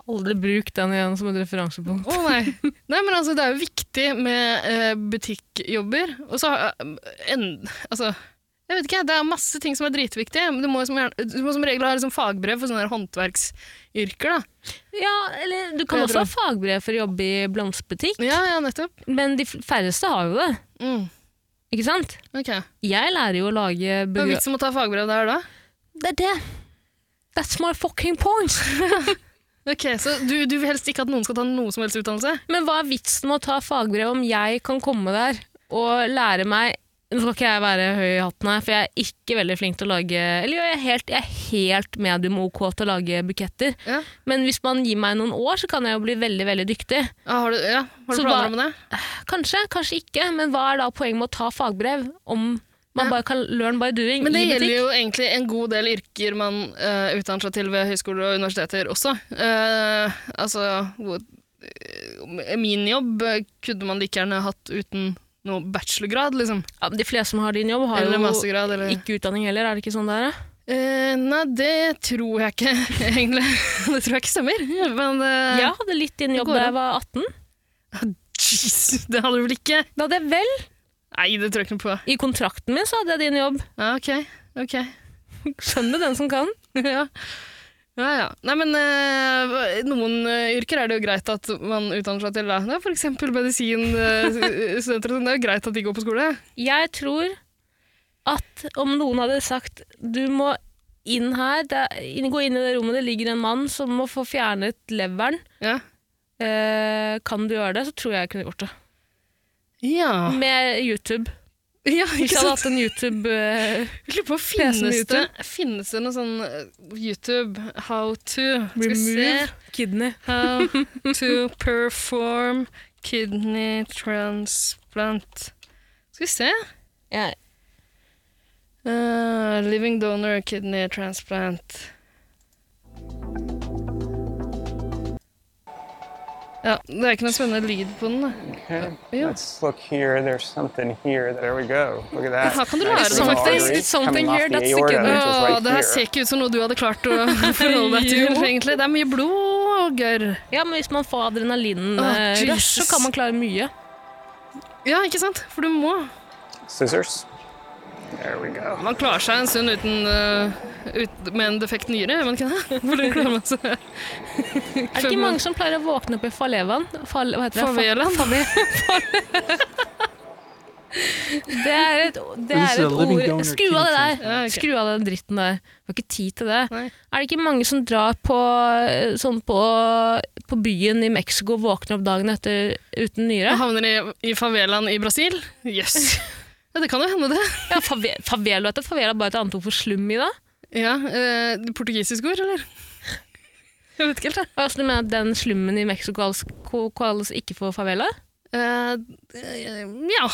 [SPEAKER 2] Aldri bruk den igjen som et referansepunkt.
[SPEAKER 1] Å nei. nei, men altså, det er jo viktig med eh, butikkjobber. Og så har- en, altså, jeg vet ikke, det er masse ting som er dritviktige. men Du må som, gjerne- du må som regel ha liksom, fagbrev for sånne her håndverksyrker. Da.
[SPEAKER 2] Ja, eller du kan
[SPEAKER 1] Jeg
[SPEAKER 2] også ha fagbrev for å jobbe i blomsterbutikk,
[SPEAKER 1] Ja, ja, nettopp.
[SPEAKER 2] men de f- færreste har jo det,
[SPEAKER 1] Mm.
[SPEAKER 2] ikke sant?
[SPEAKER 1] Ok.
[SPEAKER 2] Jeg lærer jo å lage
[SPEAKER 1] Hva er
[SPEAKER 2] bøker.
[SPEAKER 1] vitsen med å ta fagbrev der, da?
[SPEAKER 2] Det er det. That's my fucking point.
[SPEAKER 1] Ok, Så du, du vil helst ikke at noen skal ta noe som helst utdannelse?
[SPEAKER 2] Men hva er vitsen med å ta fagbrev om jeg kan komme der og lære meg Nå skal ikke jeg være høy i hatten her, for jeg er ikke veldig flink til å lage Eller jo, jeg er helt, jeg er helt medium OK til å lage buketter.
[SPEAKER 1] Ja.
[SPEAKER 2] Men hvis man gir meg noen år, så kan jeg jo bli veldig veldig dyktig.
[SPEAKER 1] Ja, har du, ja. Har du
[SPEAKER 2] Så
[SPEAKER 1] planer
[SPEAKER 2] hva-
[SPEAKER 1] om det?
[SPEAKER 2] Kanskje, kanskje ikke, men hva er da poenget med å ta fagbrev om man
[SPEAKER 1] Ja.
[SPEAKER 2] bare kan learn by doing
[SPEAKER 1] Men det
[SPEAKER 2] i
[SPEAKER 1] gjelder
[SPEAKER 2] butikk?
[SPEAKER 1] jo egentlig en god del yrker man eh, utdanner seg til ved høyskoler og universiteter også. Eh, altså, hvor- eh, min jobb eh, kunne man like gjerne hatt uten noe bachelorgrad, liksom.
[SPEAKER 2] Ja, men de fleste som har din jobb, har
[SPEAKER 1] Eller
[SPEAKER 2] jo
[SPEAKER 1] mastergrad, eller
[SPEAKER 2] ikke utdanning heller, er det ikke sånn det er? da?
[SPEAKER 1] Eh, Nei, det tror jeg ikke, egentlig. det tror jeg ikke stemmer. Men eh,
[SPEAKER 2] Jeg hadde litt din jobb
[SPEAKER 1] går
[SPEAKER 2] da
[SPEAKER 1] an.
[SPEAKER 2] jeg var 18.
[SPEAKER 1] jeez, det hadde du vel ikke?
[SPEAKER 2] Da hadde jeg vel
[SPEAKER 1] Nei, det tror jeg ikke noe på.
[SPEAKER 2] I kontrakten min så hadde jeg din jobb.
[SPEAKER 1] Ja, ok, ok.
[SPEAKER 2] Skjønner den som kan.
[SPEAKER 1] ja. ja, ja. Nei, men eh, noen eh, yrker er det jo greit at man utdanner seg til. Da. Det er for eksempel eh, medisinstudenter. det er jo greit at de går på skole.
[SPEAKER 2] Jeg tror at om noen hadde sagt du må inn her, det, er- inn- gå inn i det rommet, det ligger en mann som må få fjernet leveren.
[SPEAKER 1] Ja.
[SPEAKER 2] Eh, kan du gjøre det, så tror jeg jeg kunne gjort det.
[SPEAKER 1] Ja,
[SPEAKER 2] Med YouTube.
[SPEAKER 1] ja
[SPEAKER 2] Hvis jeg
[SPEAKER 1] ikke
[SPEAKER 2] hadde
[SPEAKER 1] sant?
[SPEAKER 2] hatt en YouTube eh,
[SPEAKER 1] Jeg lurer på,
[SPEAKER 2] Lesen
[SPEAKER 1] finnes det,
[SPEAKER 2] YouTube.
[SPEAKER 1] finnes det noe sånn eh, YouTube how to Skal vi se.
[SPEAKER 2] remove kidney
[SPEAKER 1] How to perform kidney transplant. Skal vi se.
[SPEAKER 2] Jeg
[SPEAKER 1] Eh, living donor kidney transplant. Ja, det er ikke noe spennende lyd på den. da.
[SPEAKER 3] Okay,
[SPEAKER 1] Yeah.
[SPEAKER 3] let's look here. There's something here. There we go. Look at that.
[SPEAKER 1] How come
[SPEAKER 3] Nice
[SPEAKER 1] there are
[SPEAKER 3] little
[SPEAKER 1] something-
[SPEAKER 3] artery
[SPEAKER 2] There's something
[SPEAKER 3] coming off
[SPEAKER 2] here,
[SPEAKER 3] the
[SPEAKER 2] that's the
[SPEAKER 3] aorta,
[SPEAKER 2] good Oh,
[SPEAKER 3] which
[SPEAKER 1] Åh,
[SPEAKER 3] is right
[SPEAKER 1] det her
[SPEAKER 3] here.
[SPEAKER 1] ser ikke ut som noe du hadde klart å forholde deg til,
[SPEAKER 2] Jo.
[SPEAKER 1] egentlig. Det er mye blod og gørr.
[SPEAKER 2] Ja, men hvis man får adrenalin
[SPEAKER 1] Åh,
[SPEAKER 2] eh, rush, så
[SPEAKER 1] Jesus.
[SPEAKER 2] kan man klare mye.
[SPEAKER 1] Ja, ikke sant? For du må.
[SPEAKER 3] Scissors. There we go.
[SPEAKER 1] Man klarer seg en stund uten, eh, ut, med en defekt nyre, gjør man ikke det? Hvordan klarer man seg?
[SPEAKER 2] Er det ikke mange som pleier å våkne opp i falevaen? Fal, hva heter det?
[SPEAKER 1] Favelaen?
[SPEAKER 2] Det er et, det
[SPEAKER 4] This is a
[SPEAKER 2] er et
[SPEAKER 4] living
[SPEAKER 2] ord
[SPEAKER 4] donor
[SPEAKER 2] Skru av det der!
[SPEAKER 1] Ja, ok.
[SPEAKER 2] Skru av den dritten der. Vi har ikke tid til det.
[SPEAKER 1] Nei.
[SPEAKER 2] Er det ikke mange som drar på, sånn på, på byen i Mexico og våkner opp dagen etter uten nyre?
[SPEAKER 1] Og havner i, i favelaen i Brasil? Jøss. Yes. Ja, det kan jo hende, det.
[SPEAKER 2] Ja, fave, favela heter favela, bare et annet ord for slum i det.
[SPEAKER 1] Ja, eh, Portugisisk ord, eller? Jeg vet ikke helt, jeg.
[SPEAKER 2] Altså, du mener at den slummen i Mexico kalles, kalles ikke for favela?
[SPEAKER 1] Eh, eh, ja.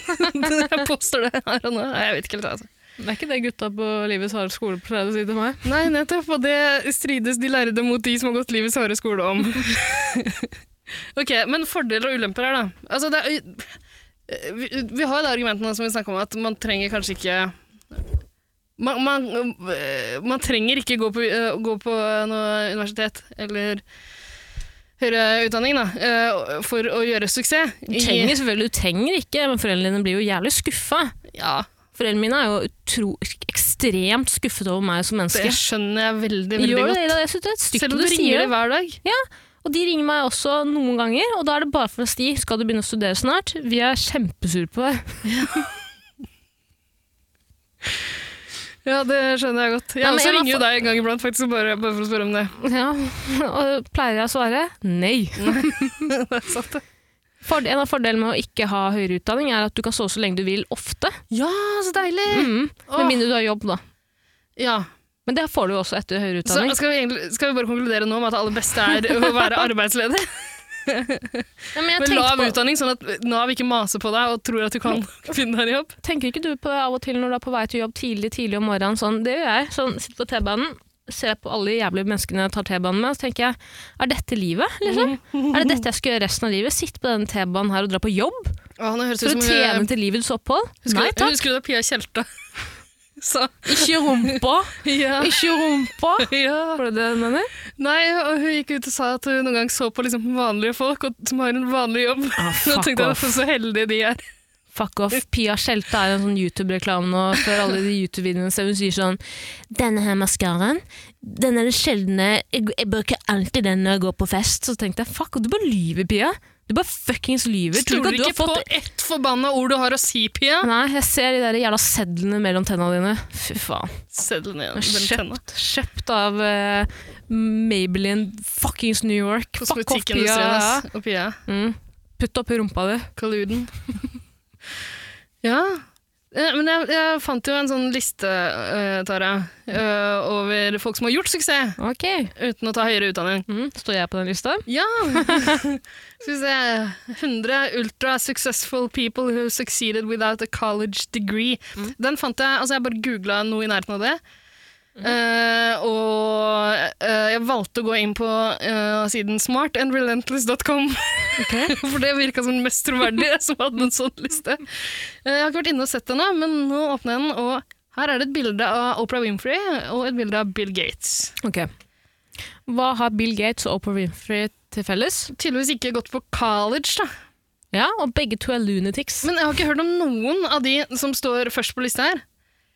[SPEAKER 1] jeg påstår det her og nå. Nei, Jeg vet ikke helt, altså.
[SPEAKER 2] Det er ikke det gutta på livets harde skole pleier å si til meg.
[SPEAKER 1] Nei, nettopp. Og det strides de lærde mot de som har gått livets harde skole om. ok, men fordeler og ulemper her, da. Altså, det er, eh, vi, vi har jo det argumentet som vi snakka om, at man trenger kanskje ikke man, man, eh, man trenger ikke gå på, eh, gå på noe universitet eller høyere utdanning da, eh, for å gjøre suksess.
[SPEAKER 2] Du
[SPEAKER 1] I-
[SPEAKER 2] trenger selvfølgelig, du trenger ikke, men foreldrene dine blir jo jævlig skuffa.
[SPEAKER 1] Ja,
[SPEAKER 2] Foreldrene mine er jo utro, ekstremt skuffet over meg som menneske.
[SPEAKER 1] det skjønner jeg veldig, veldig
[SPEAKER 2] Gjør det,
[SPEAKER 1] godt.
[SPEAKER 2] Ida? jeg synes det er et stygt
[SPEAKER 1] Selv om
[SPEAKER 2] du
[SPEAKER 1] du ringer
[SPEAKER 2] sier
[SPEAKER 1] det
[SPEAKER 2] det.
[SPEAKER 1] hver dag.
[SPEAKER 2] Og de ringer meg også noen ganger, og da er det bare for å si skal du begynne å studere snart? Vi er kjempesure på deg.
[SPEAKER 1] Ja, det skjønner jeg godt. Jeg
[SPEAKER 2] Nei, men
[SPEAKER 1] også
[SPEAKER 2] jeg var
[SPEAKER 1] ringer jo deg en gang iblant, faktisk, bare, bare for å spørre om det.
[SPEAKER 2] Ja, og pleier jeg å svare nei.
[SPEAKER 1] det er sant, det.
[SPEAKER 2] Ford- en av fordelene med å ikke ha høyere utdanning er at du kan stå så lenge du vil, ofte.
[SPEAKER 1] Ja, så deilig!
[SPEAKER 2] Mm.
[SPEAKER 1] Åh.
[SPEAKER 2] Med mindre du har jobb, da.
[SPEAKER 1] Ja.
[SPEAKER 2] Men det får du jo også etter høyere
[SPEAKER 1] Så
[SPEAKER 2] utdanning.
[SPEAKER 1] skal vi, egentlig, skal vi bare konkludere nå med at det aller beste er å være arbeidsledig?
[SPEAKER 2] Ja, men jeg
[SPEAKER 1] Med lav
[SPEAKER 2] tenkte på,
[SPEAKER 1] utdanning, sånn at Nav ikke maser på deg og tror at du kan finne deg en jobb.
[SPEAKER 2] tenker ikke du på det av og til når du er på vei til jobb tidlig tidlig om morgenen? Sånn, det gjør jeg. Sånn, sitter på T-banen, ser på alle de jævlige menneskene jeg tar T-banen med, og så tenker jeg er dette livet? Liksom? Er det dette jeg skal gjøre resten av livet? Sitte på denne T-banen her og dra på jobb?
[SPEAKER 1] Å, nå høres det
[SPEAKER 2] For
[SPEAKER 1] ut
[SPEAKER 2] å
[SPEAKER 1] som
[SPEAKER 2] tjene til livets opphold?
[SPEAKER 1] Husker,
[SPEAKER 2] Nei
[SPEAKER 1] du-
[SPEAKER 2] takk.
[SPEAKER 1] husker du da Pia Tjelta sa
[SPEAKER 2] Ikke rumpa!
[SPEAKER 1] ja,
[SPEAKER 2] Ikke rumpa!
[SPEAKER 1] ja.
[SPEAKER 2] Var det det du mener?
[SPEAKER 1] Nei, og hun gikk ut og sa at hun noen gang så på liksom vanlige folk og, som har en vanlig jobb.
[SPEAKER 2] Ah,
[SPEAKER 1] Nå
[SPEAKER 2] fuck
[SPEAKER 1] tenkte jeg
[SPEAKER 2] off.
[SPEAKER 1] at så heldige de er.
[SPEAKER 2] Fuck off. Pia Skjelte er en sånn YouTube-reklame nå for alle de YouTube-videoene der hun sier sånn Denne her maskaraen, den er det sjeldne jeg, jeg bruker alltid den når jeg går på fest. Så tenkte jeg fuck, du bare lyver, Pia. Du bare fuckings lyver. Tror du
[SPEAKER 1] Stoler
[SPEAKER 2] ikke
[SPEAKER 1] ikke
[SPEAKER 2] at du har fått
[SPEAKER 1] på ett forbanna ord du har å si, Pia.
[SPEAKER 2] Nei, jeg ser de der jævla sedlene mellom tenna dine. Fy faen.
[SPEAKER 1] Seddelen igjen. mellom tennene.
[SPEAKER 2] Kjøpt, kjøpt av eh, Maybelline fuckings New York. Fuck off, Pia.
[SPEAKER 1] Kosmetikkindustrien ass. og Pia.
[SPEAKER 2] Mm. Putt opp i rumpa di.
[SPEAKER 1] Colluden. ja. Eh, Men jeg, jeg fant jo en sånn liste, eh, Tara, eh, over folk som har gjort suksess
[SPEAKER 2] Ok.
[SPEAKER 1] uten å ta høyere utdanning.
[SPEAKER 2] Mm. Står jeg på den lista?
[SPEAKER 1] Ja! Skal vi se 100 ultra successful people who succeeded without a college degree. Den fant jeg Altså, jeg bare googla noe i nærheten av det. Eh, og eh, jeg valgte å gå inn på eh, siden smartandrelentless.com. For det virka som den mest troverdige som hadde en sånn liste. Eh, Jeg har ikke vært inne og sett den, ennå, men nå åpner jeg den, og her er det et bilde av Oprah Winfrey og et bilde av Bill Gates.
[SPEAKER 2] Ok. Hva har Bill Gates og Oprah Winfrey til felles?
[SPEAKER 1] Tydeligvis ikke gått på college, da.
[SPEAKER 2] Ja, og begge to er lunatics.
[SPEAKER 1] Men jeg har ikke hørt om noen av de som står først på lista her.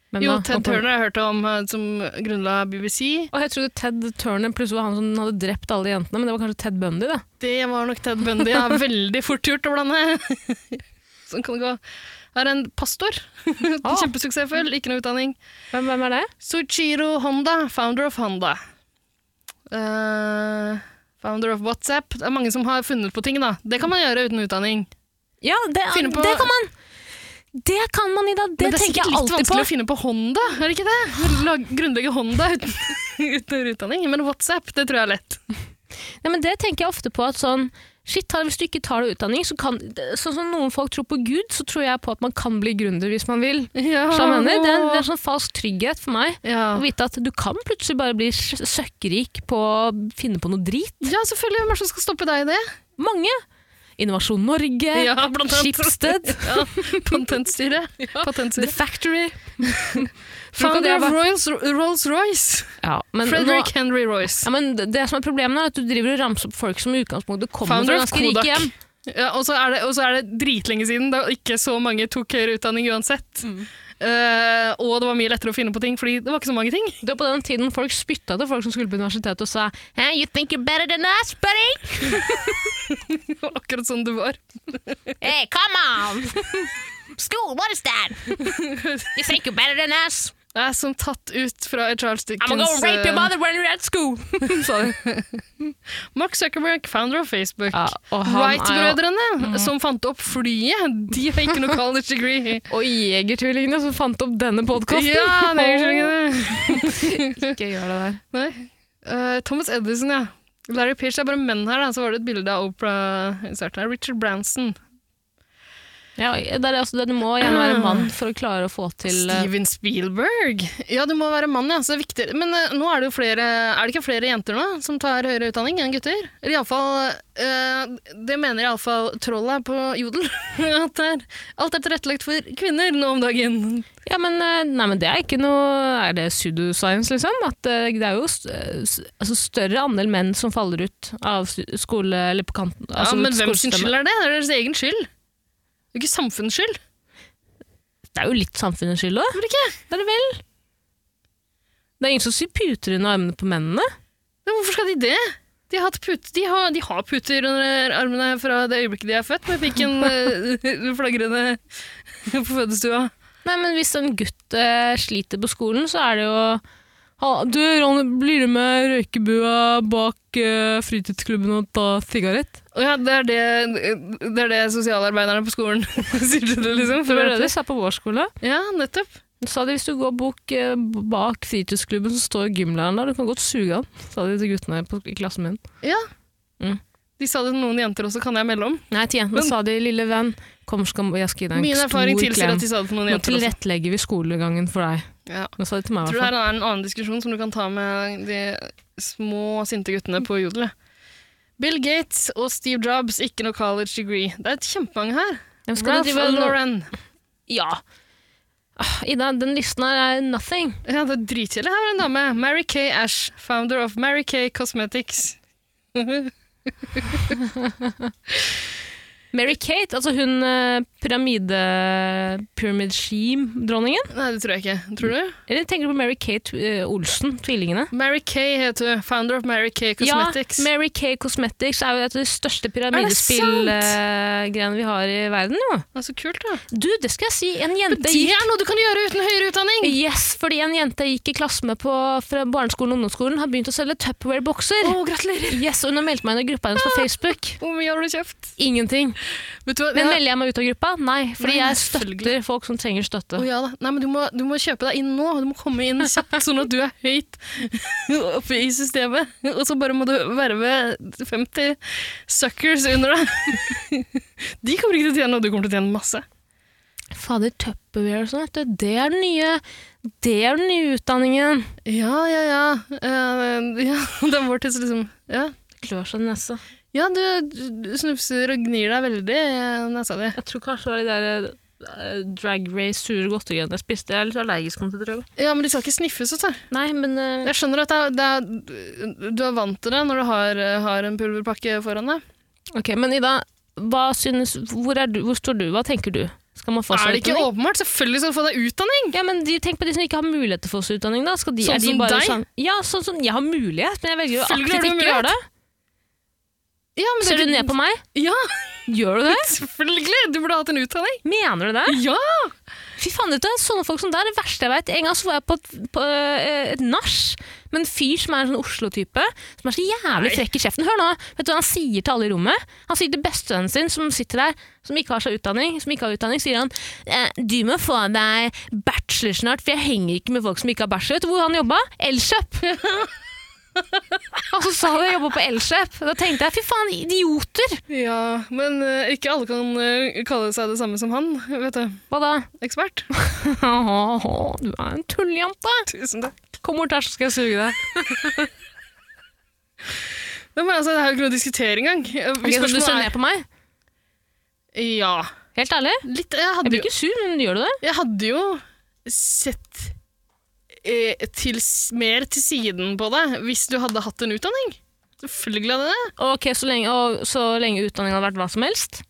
[SPEAKER 2] Hvem
[SPEAKER 1] Jo,
[SPEAKER 2] da?
[SPEAKER 1] Ted
[SPEAKER 2] Oprah-
[SPEAKER 1] Turner har jeg hørt om, eh, som grunnla BBC.
[SPEAKER 2] Og jeg trodde Ted Turner plutselig var han som hadde drept alle jentene, men det var kanskje Ted Bundy, da.
[SPEAKER 1] Det var nok Ted Bundy. Ja, veldig fort gjort å blande. Sånn kan det gå. Her er en pastor.
[SPEAKER 2] Ah.
[SPEAKER 1] Kjempesuksessfull, ikke noe utdanning.
[SPEAKER 2] Hvem, hvem er det?
[SPEAKER 1] Soichiro Honda, founder of Honda. Eh, founder of WhatsApp. Det er mange som har funnet på ting, da. Det kan man gjøre uten utdanning.
[SPEAKER 2] Ja, det,
[SPEAKER 1] Finne på-
[SPEAKER 2] det kan man! Det kan man, Ida! Det,
[SPEAKER 1] Men det er
[SPEAKER 2] tenker
[SPEAKER 1] sikkert
[SPEAKER 2] jeg
[SPEAKER 1] litt
[SPEAKER 2] alltid på.
[SPEAKER 1] vanskelig å finne på Honda, er det ikke det? Lag, grunnlegge Honda uten, uten utdanning. Men WhatsApp, det tror jeg er lett.
[SPEAKER 2] Ja, men det tenker jeg ofte på at sånn Shit, Harald, hvis du ikke tar deg utdanning, så kan det- Sånn som noen folk tror på Gud, så tror jeg på at man kan bli gründer hvis man vil.
[SPEAKER 1] Ja.
[SPEAKER 2] Så jeg mener, det er, en- det er en sånn falsk trygghet for meg.
[SPEAKER 1] ja.
[SPEAKER 2] Å vite at du kan plutselig bare bli s- søkkrik på å finne på noe drit.
[SPEAKER 1] ja, selvfølgelig. Hvem er det som skal stoppe deg i det?
[SPEAKER 2] Mange. Innovasjon Norge,
[SPEAKER 1] Ja, blant annet.
[SPEAKER 2] Schibsted,
[SPEAKER 1] Ja, Patentstyret.
[SPEAKER 2] The
[SPEAKER 1] Patentstyret.
[SPEAKER 2] Factory.
[SPEAKER 1] Founder
[SPEAKER 2] Tror
[SPEAKER 1] of
[SPEAKER 2] du ikke det var-
[SPEAKER 1] Royals- Rolls-Royce.
[SPEAKER 2] Ja, men
[SPEAKER 1] Frederick
[SPEAKER 2] nå,
[SPEAKER 1] Henry Royce.
[SPEAKER 2] ja, men det som er problemet, er at du driver og ramser opp folk som i utgangspunktet kommer
[SPEAKER 1] Founder
[SPEAKER 2] fra
[SPEAKER 1] of
[SPEAKER 2] ganske rike
[SPEAKER 1] Kodak.
[SPEAKER 2] hjem.
[SPEAKER 1] Ja, og så er det, og så er det dritlenge siden, da ikke så mange tok høyere utdanning uansett.
[SPEAKER 2] Mm.
[SPEAKER 1] Eh, og det var mye lettere å finne på ting, fordi det var ikke så mange ting.
[SPEAKER 2] Det var på den tiden folk spytta til folk som skulle på universitetet og sa hey, You think you're better than us, buddy?
[SPEAKER 1] Det var Akkurat sånn det var.
[SPEAKER 2] Hey, come on! School, what is that? You think you're better than us?
[SPEAKER 1] Jeg er som tatt ut fra Charles
[SPEAKER 2] I'm gonna
[SPEAKER 1] Dickens
[SPEAKER 2] go rape your
[SPEAKER 1] eh,
[SPEAKER 2] mother when you're at school! Sa de.
[SPEAKER 1] Mark Zuckerberg, founder of Facebook.
[SPEAKER 2] Ja, og han er jo- Mm.
[SPEAKER 1] Wright-brødrene, som fant opp flyet, de har ikke noe college degree.
[SPEAKER 2] Og Jegertvillingene som fant opp denne podkasten.
[SPEAKER 1] Ja, det er ikke det.
[SPEAKER 2] Ikke gjør det der.
[SPEAKER 1] Nei. Eh, Thomas Edison, ja. Larry Page, det er bare menn her, da. Så var det et bilde av Oprah i starten her. Richard Branson.
[SPEAKER 2] Ja, det er altså det du må gjerne være mann for å klare å få til eh,
[SPEAKER 1] Steven Spielberg? Ja, du må være mann, ja. Så det er viktig. Men eh, nå er det jo flere Er det ikke flere jenter nå som tar høyere utdanning enn gutter? Eller iallfall uh, Det mener iallfall trollet på Jodel. At det er, alt er tilrettelagt for kvinner nå om dagen.
[SPEAKER 2] Ja, men, eh, nei, men det er ikke noe Er det pseudoscience, liksom? At eh, det er jo st s- altså, større andel menn som faller ut av stu- skole eller på kanten
[SPEAKER 1] Ja,
[SPEAKER 2] altså,
[SPEAKER 1] men hvem sin
[SPEAKER 2] skolesystemet.
[SPEAKER 1] skyld er det? Det er deres egen skyld. Det er ikke samfunnets skyld.
[SPEAKER 2] Det er jo litt samfunnets skyld òg.
[SPEAKER 1] Er det ikke?
[SPEAKER 2] Det er det vel? Det er ingen som syr puter under armene på mennene.
[SPEAKER 1] Men hvorfor skal de det? De har, hatt put, de, har, de har puter under armene fra det øyeblikket de er født, med pikken eh, flagrende på fødestua.
[SPEAKER 2] Nei, men hvis en gutt eh, sliter på skolen, så er det jo ha, Du, Ronny, blir du med røykebua bak eh, fritidsklubben og ta sigarett?
[SPEAKER 1] Å Ja, det er det, det er det sosialarbeiderne på skolen sier til det, liksom.
[SPEAKER 2] Det
[SPEAKER 1] For
[SPEAKER 2] var det
[SPEAKER 1] at-
[SPEAKER 2] de sa på vår skole.
[SPEAKER 1] Ja, nettopp.
[SPEAKER 2] Sa de hvis du går bok eh, bak fritidsklubben, så står gymlæreren der. Du kan godt suge han, sa de til guttene på, i klassen min.
[SPEAKER 1] Ja.
[SPEAKER 2] Mm.
[SPEAKER 1] De sa det til noen jenter også, kan jeg melde om.
[SPEAKER 2] Nei, til jentene
[SPEAKER 1] Men-
[SPEAKER 2] sa de 'lille venn, kom, skal, jeg skal gi deg en
[SPEAKER 1] Min
[SPEAKER 2] stor
[SPEAKER 1] erfaring tilsier
[SPEAKER 2] klem'.
[SPEAKER 1] at de sa det til noen
[SPEAKER 2] Nå
[SPEAKER 1] jenter også.
[SPEAKER 2] tilrettelegger vi skolegangen for deg.
[SPEAKER 1] Ja.
[SPEAKER 2] Det sa de til meg, i
[SPEAKER 1] Jeg tror
[SPEAKER 2] hvert fall.
[SPEAKER 1] det her er en annen diskusjon som du kan ta med de små, sinte guttene på Jodel. Bill Gates og Steve Jobs, ikke noe college degree. Det er et kjempemange her.
[SPEAKER 2] Hvem skal
[SPEAKER 1] Ralph
[SPEAKER 2] du drive-
[SPEAKER 1] og Lauren.
[SPEAKER 2] Ja. Ah, Ida, den listen her er nothing.
[SPEAKER 1] Ja, det er dritkjedelig. Her er en dame. Mary Kay Ash, founder of Mary Kay Cosmetics.
[SPEAKER 2] Mary-Kate, altså hun eh, pyramide... Pyramid Scheme-dronningen?
[SPEAKER 1] Nei, det tror jeg ikke. Tror du?
[SPEAKER 2] Eller tenker du på Mary-Kate eh, Olsen, tvillingene?
[SPEAKER 1] Mary Kay heter hun. Founder of Mary Kay Cosmetics.
[SPEAKER 2] Ja, Mary Kay Cosmetics er jo et av de største pyramidespillgreiene vi har i verden. Jo.
[SPEAKER 1] Det er så kult, da.
[SPEAKER 2] Du, det skal jeg si. En jente
[SPEAKER 1] Det
[SPEAKER 2] gikk
[SPEAKER 1] er noe du kan gjøre uten høyere utdanning!
[SPEAKER 2] Yes, fordi en jente jeg gikk i klasse med på, fra barneskolen og ungdomsskolen, har begynt å selge Tupperware-bokser.
[SPEAKER 1] Å, gratulerer!
[SPEAKER 2] Yes, og Hun har meldt meg inn i gruppa hennes på Facebook.
[SPEAKER 1] Hvor mye har du kjøpt?
[SPEAKER 2] Ingenting.
[SPEAKER 1] Vet du hva?
[SPEAKER 2] Men
[SPEAKER 1] Ja.
[SPEAKER 2] melder jeg meg ut av gruppa? Nei, fordi
[SPEAKER 1] Nei,
[SPEAKER 2] jeg støtter
[SPEAKER 1] selvfølgelig.
[SPEAKER 2] folk som trenger støtte.
[SPEAKER 1] Å, ja da. Nei, men du må, du må kjøpe deg inn nå. Du må komme inn kjapt, sånn at du er høyt oppe i systemet. Og så bare må du verve 50 suckers under deg. De kommer ikke til å tjene noe, du kommer til å tjene masse.
[SPEAKER 2] Fader, Tupperware og sånn, vet du. Det er den nye, det er den nye utdanningen.
[SPEAKER 1] Ja, ja, ja. Eh, ja det er vår tids liksom Ja,
[SPEAKER 2] Klør seg i nesa.
[SPEAKER 1] ja du, du snufser og gnir deg veldig eh, i nesa di.
[SPEAKER 2] Jeg tror kanskje det var de der eh, Drag Race sure godtegreiene jeg spiste. Jeg er litt allergisk mot det, tror jeg.
[SPEAKER 1] Ja, men de skal ikke sniffes, vet du.
[SPEAKER 2] Nei, men eh,
[SPEAKER 1] Jeg skjønner at det er, det er, du er vant til det når du har, eh, har en pulverpakke foran deg.
[SPEAKER 2] Ok, men Ida, hva synes Hvor, er du, hvor står du? Hva tenker du? Skal man få seg
[SPEAKER 1] Er det ikke
[SPEAKER 2] utdanning?
[SPEAKER 1] åpenbart? Selvfølgelig skal du få deg utdanning!
[SPEAKER 2] Ja, men de, Tenk på de som ikke har mulighet til å få seg utdanning. da. Skal de,
[SPEAKER 1] Sånn
[SPEAKER 2] er de
[SPEAKER 1] som
[SPEAKER 2] bare
[SPEAKER 1] deg?
[SPEAKER 2] Sånn, ja, sånn som Jeg har mulighet, men jeg velger jo
[SPEAKER 1] Selvfølgelig har
[SPEAKER 2] aktivt
[SPEAKER 1] du
[SPEAKER 2] ikke å gjøre det.
[SPEAKER 1] Ja, men
[SPEAKER 2] Ser
[SPEAKER 1] det-
[SPEAKER 2] du ned på meg?
[SPEAKER 1] Ja,
[SPEAKER 2] Gjør du det?
[SPEAKER 1] selvfølgelig! Du burde hatt en utdanning.
[SPEAKER 2] Mener du det?
[SPEAKER 1] Ja!
[SPEAKER 2] Fy faen, vet du, sånne folk som det er det verste jeg vet. En gang så var jeg på et, på eh, et nach med en fyr som er en sånn Oslo-type, som er så jævlig frekk i kjeften. Hør nå, vet du hva han sier til alle i rommet? Han sier til bestevennen sin, som sitter der, som ikke har seg utdanning, som ikke har utdanning, sier han eh, du må få deg bachelor snart, for jeg henger ikke med folk som ikke har bachelor. Vet du hvor han jobba? Elkjøp! Og så sa han jeg jobba på Elkjøp. Da tenkte jeg fy faen, idioter!
[SPEAKER 1] Ja, Men eh, ikke alle kan eh, kalle seg det samme som han, vet du.
[SPEAKER 2] Hva da?
[SPEAKER 1] Ekspert.
[SPEAKER 2] du er en tulljente.
[SPEAKER 1] Tusen takk.
[SPEAKER 2] Kom bort her, så skal jeg suge deg.
[SPEAKER 1] Nei, Men altså, det er jo ikke noe å diskutere engang. Eh,
[SPEAKER 2] Ok, så du
[SPEAKER 1] spørsmålet
[SPEAKER 2] ser
[SPEAKER 1] er-
[SPEAKER 2] ned på meg?
[SPEAKER 1] Ja.
[SPEAKER 2] Helt ærlig?
[SPEAKER 1] Litt, jeg,
[SPEAKER 2] Jeg
[SPEAKER 1] hadde
[SPEAKER 2] blir
[SPEAKER 1] jo,
[SPEAKER 2] ikke sur, men gjør du det?
[SPEAKER 1] jeg hadde jo sett eh, til, s- mer til siden på deg hvis du hadde hatt en utdanning. Selvfølgelig hadde jeg det.
[SPEAKER 2] Ok, så lenge, og så lenge utdanning hadde vært hva som helst?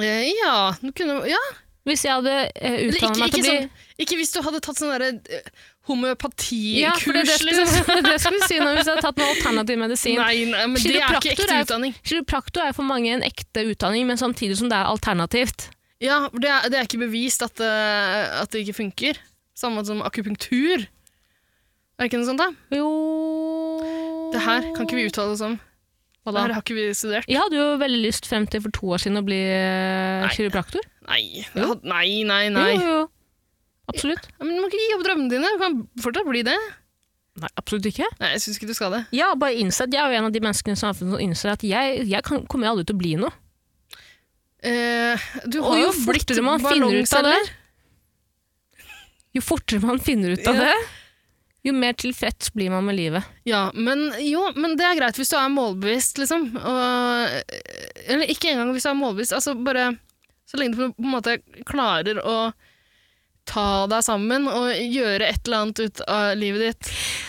[SPEAKER 1] Eh, ja, du kunne, ja.
[SPEAKER 2] Hvis jeg hadde eh,
[SPEAKER 1] Eller
[SPEAKER 2] utdannet
[SPEAKER 1] ikke,
[SPEAKER 2] meg til
[SPEAKER 1] ikke,
[SPEAKER 2] å bli
[SPEAKER 1] sånn, ikke hvis du hadde tatt sånn derre eh, homeopatikurs,
[SPEAKER 2] Ja, for det er det jeg
[SPEAKER 1] liksom.
[SPEAKER 2] skulle, det skulle jeg si nå, hvis jeg hadde tatt noe alternativ medisin.
[SPEAKER 1] Nei, nei, men det er ikke
[SPEAKER 2] Kiropraktor
[SPEAKER 1] ekte
[SPEAKER 2] er-
[SPEAKER 1] utdanning.
[SPEAKER 2] Kiropraktor er for mange en ekte utdanning, men samtidig som det er alternativt.
[SPEAKER 1] Ja, for det er, det er ikke bevist at, eh, at det ikke funker. Samme som akupunktur. Er det ikke noe sånt, da?
[SPEAKER 2] Jo
[SPEAKER 1] Det her kan ikke vi uttale oss om.
[SPEAKER 2] Hva
[SPEAKER 1] Det
[SPEAKER 2] da?
[SPEAKER 1] her har ikke vi studert.
[SPEAKER 2] Jeg hadde jo veldig lyst frem til for to år siden å bli eh,
[SPEAKER 1] Nei.
[SPEAKER 2] kiropraktor.
[SPEAKER 1] Nei, det had- nei, nei. nei.
[SPEAKER 2] Jo, jo, jo. Absolutt.
[SPEAKER 1] Ja, Men Du må ikke gi opp drømmene dine. Du kan fortsatt bli det.
[SPEAKER 2] Nei, absolutt ikke.
[SPEAKER 1] Nei, jeg syns ikke du skal det.
[SPEAKER 2] Jeg har bare innsett, jeg er jo en av de menneskene i samfunnet som innser at jeg, jeg kan, kommer aldri til å bli noe.
[SPEAKER 1] Eh, du har
[SPEAKER 2] Og jo
[SPEAKER 1] jo blitt
[SPEAKER 2] fortere man finner ut av det,
[SPEAKER 1] ballongselger.
[SPEAKER 2] jo fortere man finner ut av
[SPEAKER 1] Ja.
[SPEAKER 2] det, jo mer tilfreds blir man med livet.
[SPEAKER 1] Ja, men jo, men det er greit hvis du er målbevisst, liksom. Og, eller ikke engang hvis du er målbevisst. Altså bare så lenge du på en måte klarer å ta deg sammen og gjøre et eller annet ut av livet ditt.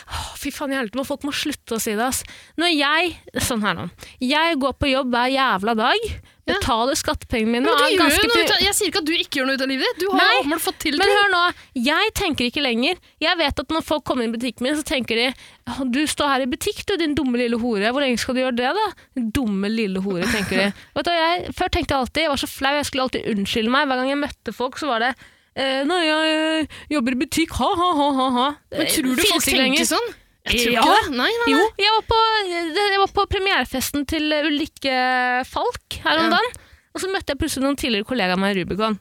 [SPEAKER 2] Å, fy faen, jeg helvete, må folk må slutte å si det, ass. Når jeg Sånn her nå. Jeg går på jobb hver jævla dag, betaler skattepengene mine
[SPEAKER 1] Men
[SPEAKER 2] og
[SPEAKER 1] du
[SPEAKER 2] er
[SPEAKER 1] gjør jo
[SPEAKER 2] ganske
[SPEAKER 1] noe
[SPEAKER 2] pri-
[SPEAKER 1] ut av, jeg sier ikke at du ikke gjør noe ut av livet ditt. Du har
[SPEAKER 2] Nei,
[SPEAKER 1] jo åpenbart fått til
[SPEAKER 2] Men
[SPEAKER 1] ting.
[SPEAKER 2] hør nå, jeg tenker ikke lenger. Jeg vet at når folk kommer inn i butikken min, så tenker de «Å, du står her i butikk, du, din dumme lille hore. Hvor lenge skal du gjøre det, da? Din dumme lille hore, tenker de. vet du, hva jeg, før tenkte jeg alltid, jeg var så flau, jeg skulle alltid unnskylde meg. Hver gang jeg møtte folk, så var det eh, Nei, jeg eh, jobber i butikk, ha, ha, ha, ha. ha.
[SPEAKER 1] Men tror du
[SPEAKER 2] Finnes
[SPEAKER 1] folk
[SPEAKER 2] ikke
[SPEAKER 1] tenker
[SPEAKER 2] lenger.
[SPEAKER 1] sånn? Jeg tror
[SPEAKER 2] eh, Ja.
[SPEAKER 1] ikke det. Nei, nei,
[SPEAKER 2] Jo,
[SPEAKER 1] nei.
[SPEAKER 2] jeg var, på, jeg var på premierefesten til Ulrikke Falk her om
[SPEAKER 1] Ja.
[SPEAKER 2] dagen. Og så møtte jeg plutselig noen tidligere kollegaer av meg i Rubicon.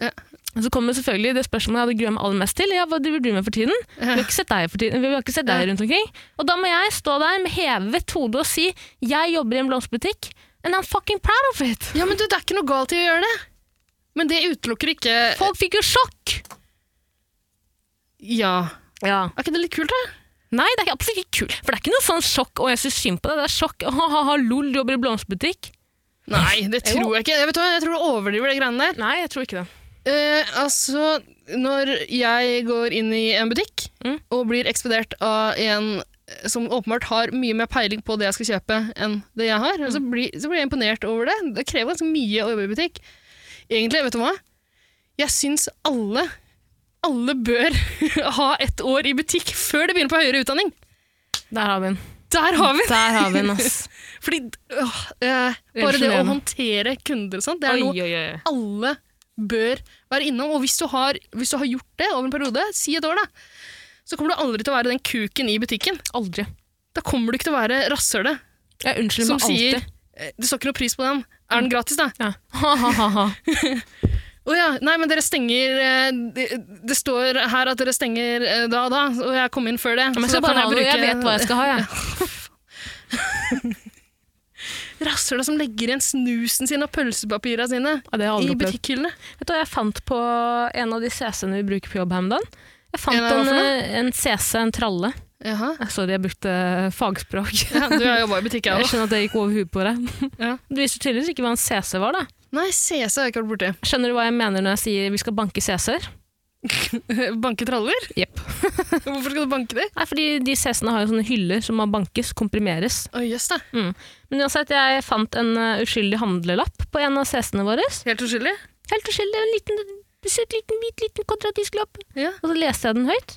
[SPEAKER 1] Ja.
[SPEAKER 2] Så kommer selvfølgelig det spørsmålet jeg hadde grua meg aller mest til. Ja, hva driver du med for tiden? Vi har ikke sett deg for tiden. Vi har ikke sett deg
[SPEAKER 1] Ja.
[SPEAKER 2] rundt omkring. Og da må jeg stå der med hevet hode og si jeg jobber i en blomsterbutikk, and I'm fucking proud of it.
[SPEAKER 1] Ja, men du, det er ikke noe galt i å gjøre det. Men det utelukker ikke
[SPEAKER 2] Folk fikk jo sjokk!
[SPEAKER 1] Ja.
[SPEAKER 2] Ja.
[SPEAKER 1] Er ikke det litt kult, da?
[SPEAKER 2] Nei, det er ikke- absolutt ikke kult. For det er ikke noe sånn sjokk, og jeg syns synd på deg. Det er sjokk. Ha-ha-ha, lol, du jobber i blomsterbutikk.
[SPEAKER 1] Nei, det
[SPEAKER 2] Jo.
[SPEAKER 1] tror jeg ikke. Jeg, vet hva, jeg tror du overdriver de greiene der.
[SPEAKER 2] Nei, jeg tror ikke det.
[SPEAKER 1] Eh, altså, når jeg går inn i en butikk
[SPEAKER 2] Mm.
[SPEAKER 1] og blir ekspedert av en eh, som åpenbart har mye mer peiling på det jeg skal kjøpe enn det jeg har,
[SPEAKER 2] Mm.
[SPEAKER 1] så, blir, så blir jeg imponert over det. Det krever ganske mye å jobbe i butikk. Egentlig, vet du hva? Jeg syns alle, alle bør ha ett år i butikk før de begynner på høyere utdanning.
[SPEAKER 2] Der har vi den.
[SPEAKER 1] Der har vi den!
[SPEAKER 2] Der har vi den, ass.
[SPEAKER 1] Fordi åh, eh, bare det å
[SPEAKER 2] Revolusjonerende.
[SPEAKER 1] håndtere kunder og sånt, det er
[SPEAKER 2] Oi,
[SPEAKER 1] noe
[SPEAKER 2] oi, oi.
[SPEAKER 1] alle bør være innom. Og hvis du, har, hvis du har gjort det over en periode, si et år, da, så kommer du aldri til å være den kuken i butikken.
[SPEAKER 2] Aldri.
[SPEAKER 1] Da kommer du ikke til å være rasshølet
[SPEAKER 2] Jeg unnskylder
[SPEAKER 1] som
[SPEAKER 2] meg
[SPEAKER 1] sier
[SPEAKER 2] alltid.
[SPEAKER 1] eh, du står ikke noe pris på den. Er den gratis, da?
[SPEAKER 2] Ja. Ha-ha-ha.
[SPEAKER 1] Å ja, nei, men dere stenger eh, Det, det står her at dere stenger eh, da og da, og jeg kom inn før det.
[SPEAKER 2] Men jeg skal bare ha noe. Jeg vet hva jeg skal ha, jeg.
[SPEAKER 1] Rasshøla som legger igjen snusen sin og pølsepapirene sine
[SPEAKER 2] Ja, det har jeg
[SPEAKER 1] i
[SPEAKER 2] aldri opplevd.
[SPEAKER 1] butikkhyllene.
[SPEAKER 2] Vet du hva jeg fant på en av de CC-ene vi bruker på jobb her om dagen? Jeg fant
[SPEAKER 1] En av hva
[SPEAKER 2] en,
[SPEAKER 1] for
[SPEAKER 2] eh, en CC, en tralle.
[SPEAKER 1] Jaha.
[SPEAKER 2] Eh, Sorry, jeg brukte fagspråk.
[SPEAKER 1] Ja, du har jobba i butikk, jeg
[SPEAKER 2] Jeg
[SPEAKER 1] òg.
[SPEAKER 2] skjønner at det gikk over huet på deg.
[SPEAKER 1] Ja.
[SPEAKER 2] Du visste tydeligvis ikke hva en CC var, da.
[SPEAKER 1] Nei, CC har jeg ikke vært borti.
[SPEAKER 2] Skjønner du hva jeg mener når jeg sier vi skal banke CC-er?
[SPEAKER 1] Banke traller?
[SPEAKER 2] Jepp.
[SPEAKER 1] Hvorfor skal du banke det?
[SPEAKER 2] Nei, fordi de CC-ene har jo sånne hyller som må bankes, komprimeres.
[SPEAKER 1] Å, jøss da.
[SPEAKER 2] Men uansett, jeg fant en eh, uskyldig handlelapp på en av CC-ene våre.
[SPEAKER 1] Helt uskyldig?
[SPEAKER 2] Helt uskyldig, en liten, søt, liten, hvit, liten kontradisk lapp.
[SPEAKER 1] Ja.
[SPEAKER 2] Og så leste jeg den høyt.